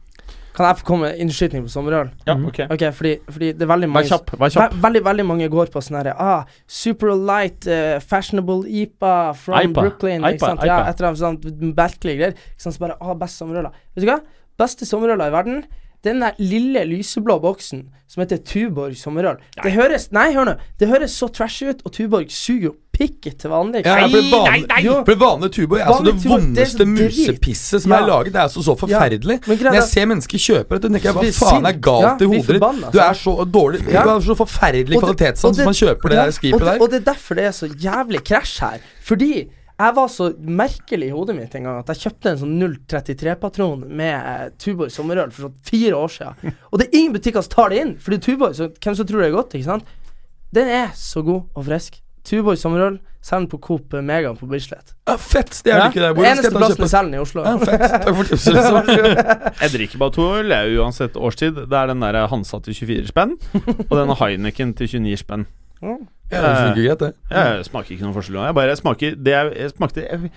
Kan jeg få komme med innskyting på sommerøl? Ja, ok Ok, fordi, fordi det er veldig Vær mange kjapp. vær Ve kjapp veldig, veldig mange går på sånn herre ah, Super light, eh, fashionable IPA from IPA, Brooklyn. IPA, ikke sant? Ja, IPA. et eller annet sånt merkelige greier. Ikke sant? Så bare ah, best sommerøla. Vet du hva? Beste sommerøla i verden. det er Den der lille lyseblå boksen som heter Tuborg sommerøl. Det høres Nei, hør nå. Det høres så trashy ut, og Tuborg suger jo pikket til vanlig. Ja, for det vanlige, Jo. For det vanlige tubo er altså Vanlig det tubo, det vondeste er så drit. musepisset som Ja. er laget. Det er altså så forferdelig. Men Når greia er jeg ser mennesker kjøpe dette, tenker jeg hva blir faen er sint. Ja, galt i blir hodet ditt? forbanna, Du er så dårlig Du Ja. har så forferdelig Og det- og kvalitetssans når det- man kjøper det ja, der skvipet og det- der. Og det er derfor det er så jævlig krasj her. Fordi jeg var så merkelig i hodet mitt en gang at jeg kjøpte en sånn 033-patron med eh, Tuborg sommerøl for sånn fire år siden. Og det er ingen butikker som tar det inn, fordi Tuborg, så hvem som tror det er godt, ikke sant? Den er så god og frisk. Tuborg sommerøl selger den på Coop Megaen på Bislett. Ja, fett! Det er det ikke der. Hvor Eneste skal jeg ta plassen og kjøpe? de selger den i Oslo. Ja, fett. Takk for tipset. liksom. Jeg drikker bare to øl, jeg, uansett årstid. Det er den der Hansa til 24 spenn, og den Heineken til 29 spenn. Ja, det funker greit, det. Jeg smaker ikke noen forskjell. Jeg bare jeg smaker det jeg, jeg smakte jeg,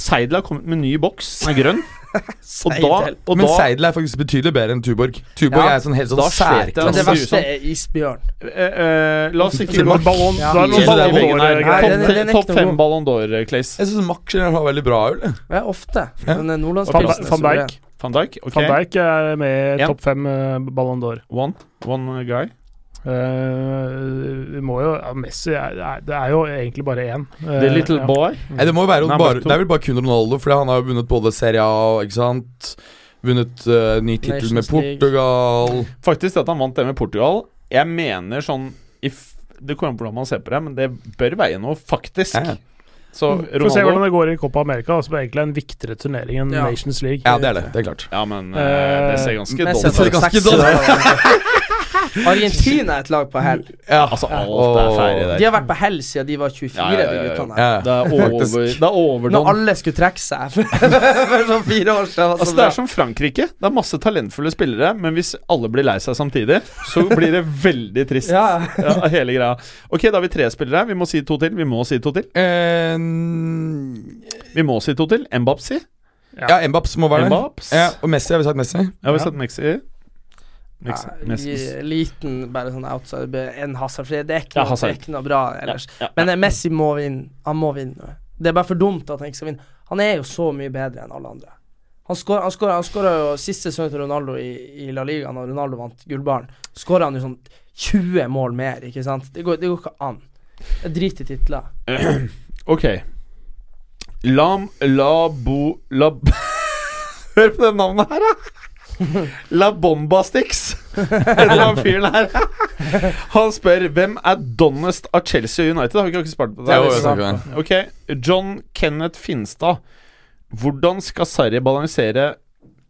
Seidel har kommet med en ny boks. Den er grønn. Og da, Seidel. Ah, og Men da Seidel er faktisk betydelig bedre enn Tuborg. Tuborg Ja, er sånn helt sånn da slet jeg, særklasse. Men det altså, verste grusomt. er isbjørn. eh, eh, La oss ikke gå Til og med ballon, Ja. da er det noen Jesus, det er veggen ballon her. d'Or-greier. Nei, den- eh, den er Topp ikke topp noe fem god. Ballon d'Or, eh, Clays. Jeg syns Max generelt har veldig bra øl. jeg. Ja, ofte. Ja. Men eh, Van, Nordlandspilsen er Van suveren. Dijk Van Dijk, ok. Van Dijk er med i En. topp fem eh, Ballon d'Or. One, one guy. Eh, vi må jo ja, Messi er, er, Det er jo egentlig bare én. Eh, The little ja. boy. Mm. Nei, det må jo være Nei, bare, Marco. Det er vel bare kun Ronaldo, Fordi han har jo vunnet både Serie A, ikke sant? Vunnet eh, ny tittel med Nations League. Portugal Faktisk det at han vant det med Portugal. Jeg mener sånn if, Det kommer an på hvordan man ser på det, men det bør veie noe, faktisk. Ja. Så Får Mm, se hvordan Ronaldo det går i Copa America, som egentlig er en viktigere turnering enn Ja. Nations League. Ja, det er det. Det er klart. Ja, men eh, det ser ganske dårlig ser Messi ut. har ganske seks dårlig år. Argentina er et lag på hell. Ja. Altså, alt er ferdig De der. har vært på hell siden de var 24, Ja, ja, ja, ja. de guttene her. Ja. Det er over, det er Når overdone. alle skulle trekke seg for sånn fire år siden. var Altså, så det bra. er som Frankrike. Det er masse talentfulle spillere, men hvis alle blir lei seg samtidig, så blir det veldig trist. ja. Ja, hele greia. Ok, da har vi tre spillere. Vi må si to til. Vi må si to til. Eh, Vi må si to til. Mbapsi. ja, Mbaps må være der. Mbaps. Ja, og Messi har vi sagt Messi. Jeg har Ja. sett Mexi. Mexi. Ja, Messi. i- liten, bare sånn outside En Hazard. For det er ikke Ja, noe, det Hazard. er ikke noe bra ellers. Ja, Men eh, Messi må vinne. Han må vinne. Det er bare for dumt at han ikke skal vinne. Han er jo så mye bedre enn alle andre. Han skåra han scorer- han scorer jo siste sesong til Ronaldo i, i La Liga, når Ronaldo vant gullballen. Skåra han jo sånn 20 mål mer, ikke sant? Det går, det går ikke an. Det er drit i titler. Ok. Lam la bo la b- Hør på det navnet her, da! La Bomba Sticks. Det var han fyren her. Han spør hvem er donnest av Chelsea og United. Har vi ikke akkurat spart på det? Jo, jo, takk for det. Ok, John Kenneth Finstad. Hvordan skal Sarri balansere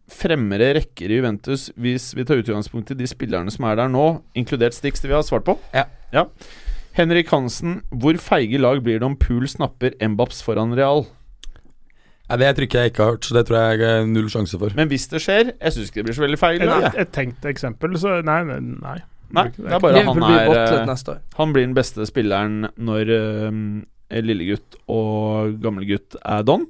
fremmere rekker i Juventus hvis vi tar utgangspunkt i de spillerne som er der nå, inkludert Stix, det vi har svart på? Ja. Henrik Hansen, hvor feige lag blir det om Pool snapper Mbaps foran Real? Nei, det trykket jeg ikke har hørt, så det tror jeg jeg er null sjanse for. Men hvis det skjer Jeg syns ikke det blir så veldig feil. Et, Nei, et tenkt eksempel, så Nei. nei, nei. nei det er bare Liverpool han blir er bottlet eh, neste år. Han blir den beste spilleren når eh, lillegutt og gammelgutt er don.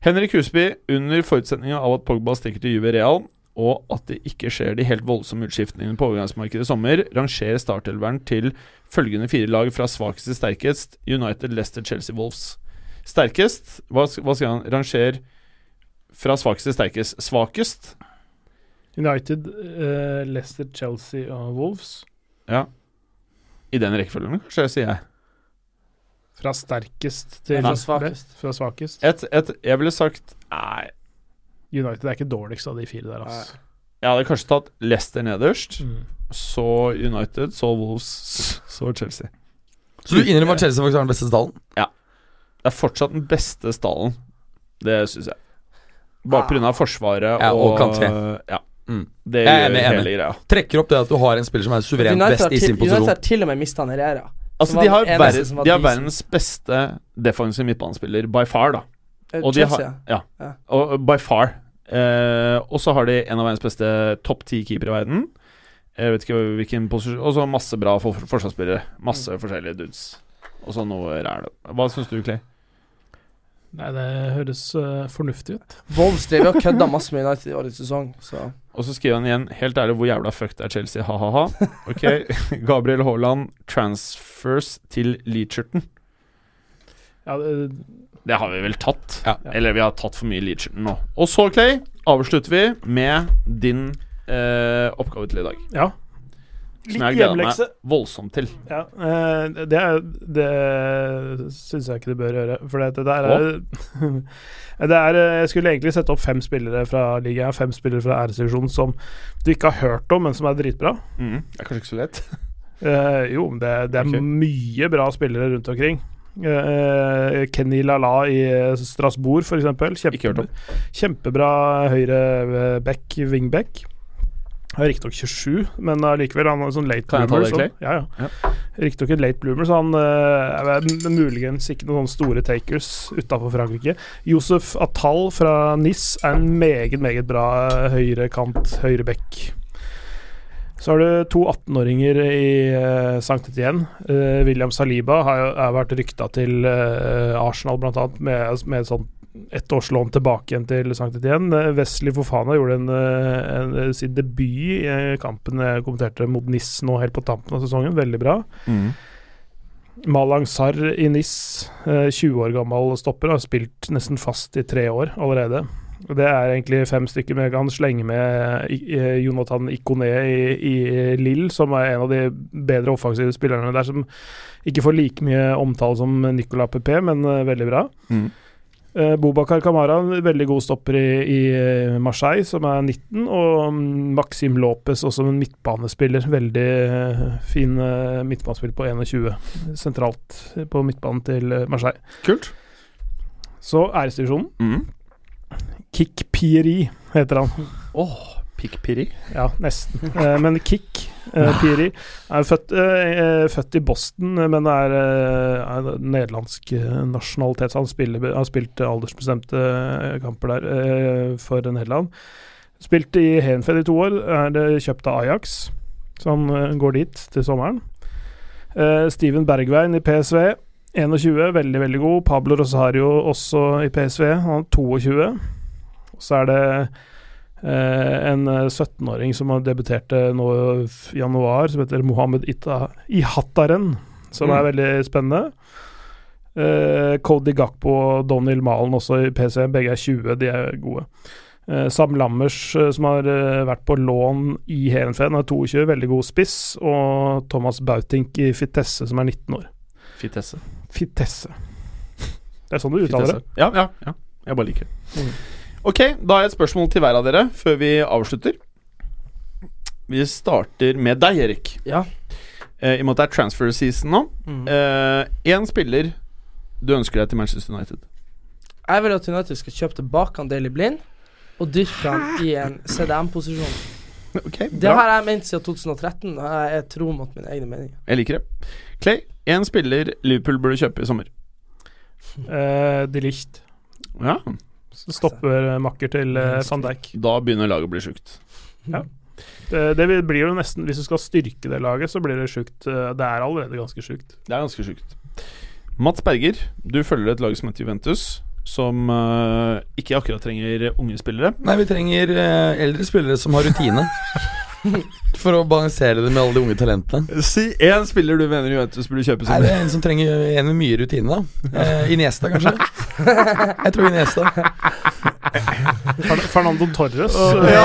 Henrik Husby, under forutsetninga av at Pogba stikker til Juve Real, og at det ikke skjer de helt voldsomme utskiftningene på overgangsmarkedet i sommer, rangerer startelveren til følgende fire lag fra svakest til sterkest United, Leicester, Chelsea, Wolves. Sterkest Hva, sk- hva skal han Ranger fra svakest til sterkest. Svakest? United, eh, Leicester, Chelsea og Wolves. Ja. I den rekkefølgen, kanskje, sier jeg. Fra sterkest til Fra svakest. Fra svakest. Et, et, jeg ville sagt Nei, United er ikke dårligst av de fire der, altså. Jeg hadde kanskje tatt Leicester nederst, Mm. så United, så Wolves, så Chelsea. Så du innrømmer at Chelsea faktisk har den beste stallen? Det er fortsatt den beste stallen, det syns jeg. Bare Ah. pga. Forsvaret Ja, og Kanté. Ja. Mm. Det Jeg er gjør enig, enig. hele greia. Trekker opp det at du har en spiller som er suverent United best har i sin til- United posisjon. har til og med mista Herrera. Altså, var de har, den eneste verdens, som var de har decent. verdens beste defensive midtbanespiller by far, da. Eh, Og de Chelsea. har, ja. Ja. Og, og by far. Eh, og så har de en av verdens beste topp ti keepere i verden. Jeg vet ikke hvilken posisjon Og så masse bra for, forsvarsspillere. Masse Mm. forskjellige dudes. Og så noe ræl. Hva syns du, Clay? Nei, det høres eh, fornuftig ut. Wolves drev jo og kødda masse med United i årets sesong, så Og så skriver han igjen Helt ærlig, hvor jævla fucked er Chelsea? Ha-ha-ha. Ok, Gabriel Haaland transfers til Leacherton. Ja, det, Det har vi vel tatt? Ja. Eller vi har tatt for mye Leacherton nå. Og så, Clay, avslutter vi med din eh, oppgave til i dag. ja. Som jeg gleder meg voldsomt til. Ja, eh, det, er- det syns jeg ikke du bør gjøre. For det, det der er, det er eh, Jeg skulle egentlig sette opp fem spillere fra ligaen, fem spillere fra æresdivisjonen som du ikke har hørt om, men som er dritbra. Mm. Det er kanskje ikke så lett. Eh, jo, men det, det er Ok. mye bra spillere rundt omkring. Eh, Kenny Lala i eh, Strasbourg, for eksempel. Ikke hørt om. kjempebra høyreback, wingback. Han er riktignok 27, men allikevel han er sånn late Kan jeg ta bloomer. det, Clay? Så, ja, ja. Riktignok en late bloomer, så han eh, er vel muligens ikke noen sånne store takers utafor Frankrike. Josef Atal fra NIS er en meget, meget bra eh, høyrekant, høyreback. Så har du to 18-åringer i uh, Sankt Etienne. Eh, William Saliba har, jo- har vært rykta til eh, Arsenal, blant annet, med, med sånn ett års lån tilbake igjen til Sankt Etienne. Eh, Wesley Fofana gjorde en, eh, en, eh, sin debut i eh, kampen jeg kommenterte mot Nis nå helt på tampen av sesongen. Veldig bra. Mm. Malang Sarr i Nis, eh, 20 år gammel stopper, har spilt nesten fast i tre år allerede. Og Det er egentlig fem stykker, men jeg kan slenge med i- i- Jonathan Ikoné i, i Lill, som er en av de bedre offensive spillerne der, som ikke får like mye omtale som Nicolas Pepé, men eh, veldig bra. Mm. Eh, Bobakar Kamara, en veldig god stopper i, i eh, Marseille, som er 19. Og mm, Maxim Lopez, også en midtbanespiller. Veldig eh, fin eh, midtbanespiller på 21, sentralt på midtbanen til eh, Marseille. Kult. Så æresdivisjonen. Mm. Kick Pieri heter han. Pikkpirri. Ja, nesten. Eh, men Kick eh, Pieri er født, eh, eh, født i Boston, eh, men er, eh, er nederlandsk eh, nasjonalitet. Så han spiller, har spilt eh, aldersbestemte eh, kamper der eh, for Nederland. Spilte i Henfeld i to år, er eh, kjøpt av Ajax, så han eh, går dit til sommeren. Eh, Steven Bergveien i PSV, 21, veldig, veldig god. Pablo Rosario også i PSV, han er 22. Og så er det eh, en eh, 17-åring som har debuterte nå i januar, som heter Mohammed Ita Ihataren, som er veldig spennende. Eh, Cody Gakpo og Donald Malen også i PSV, begge er 20, de er gode. Eh, Sam Lammers, eh, som har eh, vært på lån i Heerenveen, er 22, veldig god spiss. Og Thomas Bautink i Fitesse, som er 19 år. Fitesse. Fitesse. Det er sånn du uttaler det. Ja, ja, ja. Jeg bare liker det. Mm. Ok, da har jeg et spørsmål til hver av dere før vi avslutter. Vi starter med deg, Erik. Ja. Eh, I og med at det er transfer season nå. mm. Én spiller du ønsker deg til Manchester United. Jeg vil at United skal kjøpe tilbake han Daily Blind og dyrke han i en CDM-posisjon. Ok, Det bra. har jeg ment siden 2013, og jeg er tro mot mine egne meninger. Jeg liker det. Clay, Én spiller Liverpool burde kjøpe i sommer. Eh, de Licht Ja, stopper eh, makker til eh, van Dijk. Da begynner laget å bli sjukt. Eh, det vil- blir jo nesten Hvis du skal styrke det laget, så blir det sjukt. eh, det er allerede ganske sjukt. Det er ganske sjukt. Mats Berger, du følger et lag som heter Juventus, som eh, ikke akkurat trenger unge spillere. Nei, vi trenger eh, eldre spillere som har rutine. For å balansere det med alle de unge talentene. Si én spiller du mener Juventus burde kjøpe Er det en som trenger en med mye rutine, da? Eh, Iniesta, kanskje? Jeg tror Iniesta. Fer- Fernando Torres. eh,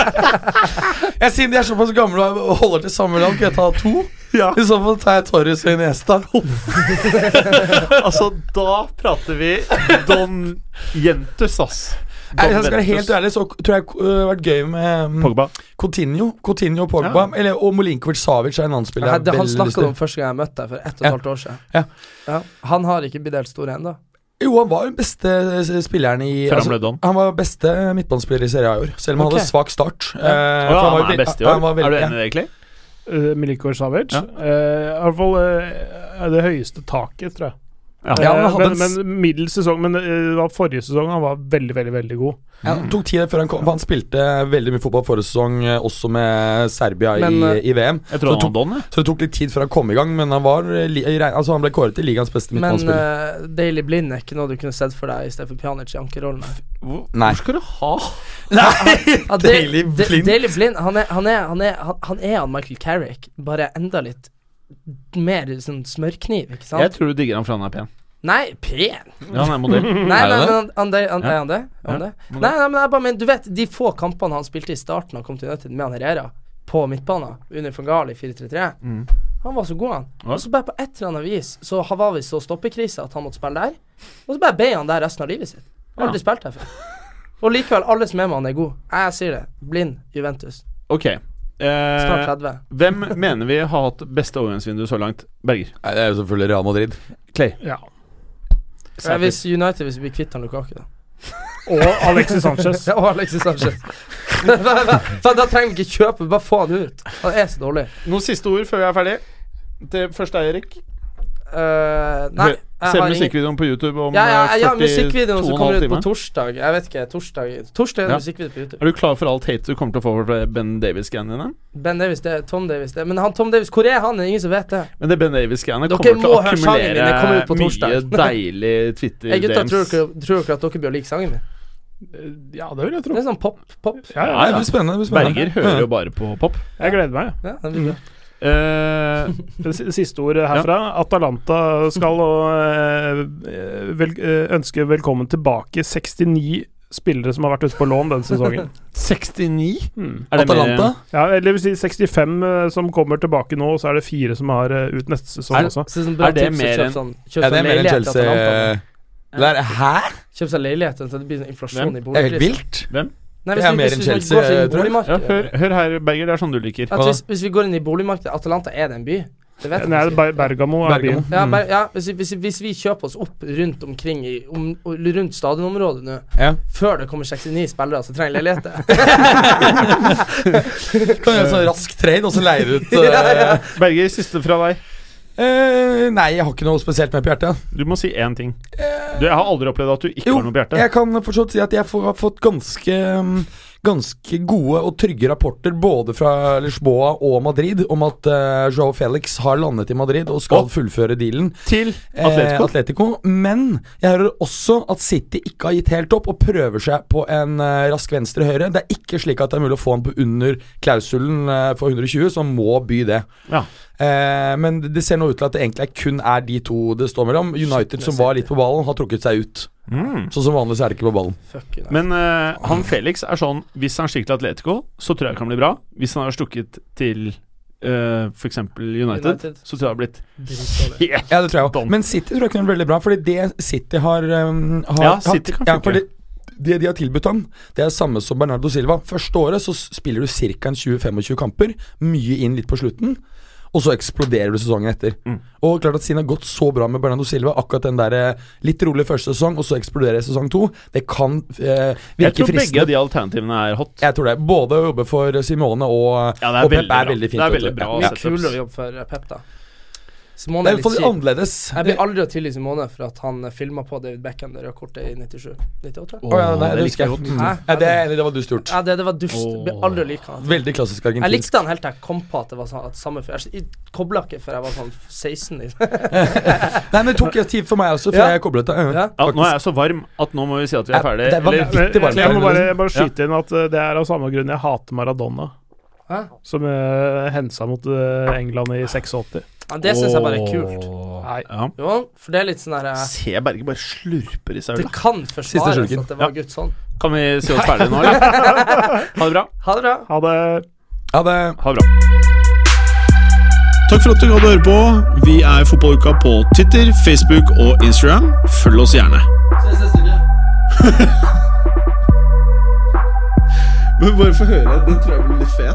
Jeg, siden de er såpass gamle og holder til samme land, kan jeg ta to? Ja. I så fall tar jeg Torres og Iniesta. altså, da prater vi Don Jentus, ass. Jeg, jeg skal være helt ærlig, så tror jeg eh, det har vært gøy med mm, Pogba. Coutinho, Coutinho og Pogba. Eller, og Molinkovic-Savic er en annen spiller. Ja, jeg det, har han veldig lyst snakka til. om første gang jeg møtte deg, for ett og Ja. et halvt år siden. Ja. Ja. Han har ikke blitt helt stor ennå. Jo, han var den beste eh, spilleren i Før han altså, ble Don. Han var beste eh, midtbanespiller i Serie A i år, selv om han Ok. hadde svak start. Å Eh, for ja, var han jo er ve- best i år. han var veldig- Er du ja. enig i det, egentlig? Uh, Milikovic Savic. Ja. Eh, I hvert fall eh, er det høyeste taket, tror jeg. Ja, men Eh, han hadde men, en s- men middels sesong. Men eh, det var forrige sesong han var veldig, veldig veldig god. Ja, det tok tid før han kom, for han spilte veldig mye fotball forrige sesong, eh, også med Serbia Men, eh, i, i VM. Jeg Så tror han tok- var Don, jeg. Så det tok litt tid før han kom i gang, men han, var, eh, li, i reg- altså han ble kåret til ligaens beste Men midtbanespiller. eh, Daily Blind er ikke noe du kunne sett for deg i stedet for Pjanic i ankerrollen. Hvor, Nei. skal du ha Nei! Ja, Da- Daily Da- Blind. Daley Blind han er, han, er, han, er, han, han er han Michael Carrick, bare enda litt mer sånn smørkniv, ikke sant? Jeg tror du digger han for han er pen. Nei, pen! Ja, han er modell. Nei, Mm. Er nei, det det? men han, han, han, Ja. er han det? Er han Ja, det? må Nei, nei, men jeg bare mener, du vet, de få kampene han spilte i starten han kom til United med han Herrera, på midtbanen, under Fangal i 4-3-3, Mm. han var så god, han. Ja. Og så bare på et eller annet vis så ha- var vi så stoppekrisa at han måtte spille der, og så bare ble han der resten av livet sitt. Han har Aldri spilt der før. Og likevel, alle som er med han, er god. Jeg sier det. Blind Juventus. Ok. Snart Eh, 30. hvem mener vi har hatt beste overgangsvindu så langt? Berger. Nei, det er jo selvfølgelig Real Madrid. Clay. Ja. Ja, hvis United hvis vi blir kvitt han Lukaku, da. Og Alexis Sanchez. Ja, og Alexis Sanchez. da da trenger vi ikke kjøpe, bare få han ut. Han er så dårlig. Noen siste ord før vi er ferdig? Det første er Erik. Eh, nei, Hør, Ser ingen- musikkvideoen på YouTube om eh, ja, ja, ja, ja, 42 musikkvideoen som kommer ut på timer. torsdag. Jeg vet ikke, torsdag Torsdag er det Ja. musikkvideo på YouTube. Er du klar for alt hate du kommer til å få fra Ben Davies-greiene dine? Ben Davis, det er Tom Davis. Det. Men han Tom Davis, hvor er han? Det er ingen som vet det. Men det Ben Davies-greiene Dere kommer til å må høre sangen min, den kommer ut på akkumulere mye torsdag. deilig Jeg gutta, tror Twitter-DMs. dere, tror dere at dere blir å like sangen min? Ja, det vil jeg Det tro. er sånn pop, pop. Ja, Ja, ja. Nei, det blir spennende. Det blir spennende. Berger hører jo bare på pop. Jeg gleder meg. Ja, den blir bra. Eh, Det si- siste ordet herfra. Atalanta skal og, eh, vel, eh, ønske velkommen tilbake 69 spillere som har vært ute på lån denne sesongen. 69? Hmm. Er det mer- eh, Atalanta? Ja, eller det vil si 65 eh, som kommer tilbake nå, og så er det fire som har eh, ut neste sesong Er- også. Så sånn bra Er det tips å mer kjøpe enn- sånn, Ja, det kjøpe sånn er mer enn leilighet til Atalanta. Chelsea. eh, Det er, hæ? Kjøpe sånn leilighet sånn at det blir sånn inflasjon Hvem? i Det er helt boligprisene. vilt. Nei, Det hvis er vi- mer hvis enn vi Chelsea, går inn i tror jeg. Ja, boligmarkedet- hør, hør her, Berger, det er sånn du liker. At hvis, hvis vi går inn i boligmarkedet Atalanta, er det en by? Det vet jeg Nei, faktisk Ber- ikke. Bergamo er Bergamo. byen. Ja, Mm. bare, ja hvis, vi- hvis, vi- hvis vi kjøper oss opp rundt omkring i, om, og Rundt stadionområdet nå, Ja. før det kommer 69 spillere som trenger leiligheter Kan gjøre sånn rask trade, og så leier ut Ja, ja. eh, Berger, siste fra deg. eh, Nei, jeg har ikke noe spesielt med på hjertet. Du må si én ting. Du, jeg har aldri opplevd at du ikke Jo, har noe på hjertet. Jeg kan fortsatt si at jeg får, har fått ganske mm, Ganske gode og trygge rapporter både fra Lisboa og Madrid om at uh, Joao Felix har landet i Madrid og skal Å. fullføre dealen. Til eh, Atletico. Atletico. Men jeg hører også at City ikke har gitt helt opp og prøver seg på en eh, rask venstre-høyre. Det er ikke slik at det er mulig å få han på under klausulen eh, for 120, så han må by det. Ja. Eh, men det ser nå ut til at det egentlig er kun er de to det står mellom. United, som var litt på ballen, har trukket seg ut. Mm. Sånn som vanlig så er det ikke på ballen. Fuck you, nei. Men eh, han Felix er sånn Hvis han stikker til Atletico, så tror jeg det kan bli bra. Hvis han har stukket til uh, f.eks. United, United. så tror jeg det har blitt Dritdårlig. helt Ja, det tror jeg også. Don. Men City tror jeg kunne vært veldig bra, fordi det City har, um, har Ja, City kan ja, funke. fordi det de har tilbudt ham, det er samme som Bernardo Silva. Første året så spiller du ca. 20-25 kamper, mye inn litt på slutten, og så eksploderer du sesongen etter. Mm. Og klart at siden det har gått så bra med Bernardo Silva, akkurat den der eh, litt rolig første sesong, og så eksploderer sesong to, det kan eh, Jeg virke tror begge fristende. av de alternativene er hot. Jeg tror det. Både å jobbe for Simone og, Ja, det er og eh, veldig Pep bra. er veldig fint. Det er vet du. veldig bra Ja. Mye setups. kulere jobb for eh, Pep, da. Simone Det er er litt litt kjip. annerledes. Jeg blir aldri å tilgi Simone for at han filma på David Beckham det røde kortet i 97. 98? Å ja, det nei, likte det husker jeg jeg. godt. Mm. Hæ? Ja, det er jeg enig i, det var dust gjort. Ja, det, det var dust. Jeg Blir aldri å like han. Veldig klassisk Jeg argentinsk. likte han helt til jeg kom på at det var sånn, at samme fyr. Jeg kobla ikke før jeg var sånn 16. Liksom. Nei, men det tok tid for meg også, før Ja. jeg koblet det. Ja. Ja, nå er jeg så varm at nå må vi si at vi er Ja, ferdig. det er Eller- vanvittig. Vittig varmt. eh, Jeg må bare, jeg bare skyte inn at eh, det er av samme grunn jeg hater Maradona. Hæ? Som eh, hensa mot eh, England i 86. Ja, det syns jeg bare er kult. Nei. Ja. Jo, for det er litt sånn der eh, Se Berge bare slurper i seg Det øl. kan forsvares slurken. at det var sånn. Guds hånd. Kan vi si oss ferdige nå, eller? Ha det bra. Ha det bra. Ha det. Ja, det Ha det bra. Takk for at du hadde høre på. Vi er Fotballuka på Twitter, Facebook og Instagram. Følg oss gjerne. Ses neste uke. Men bare få høre. Den tror jeg blir litt fet.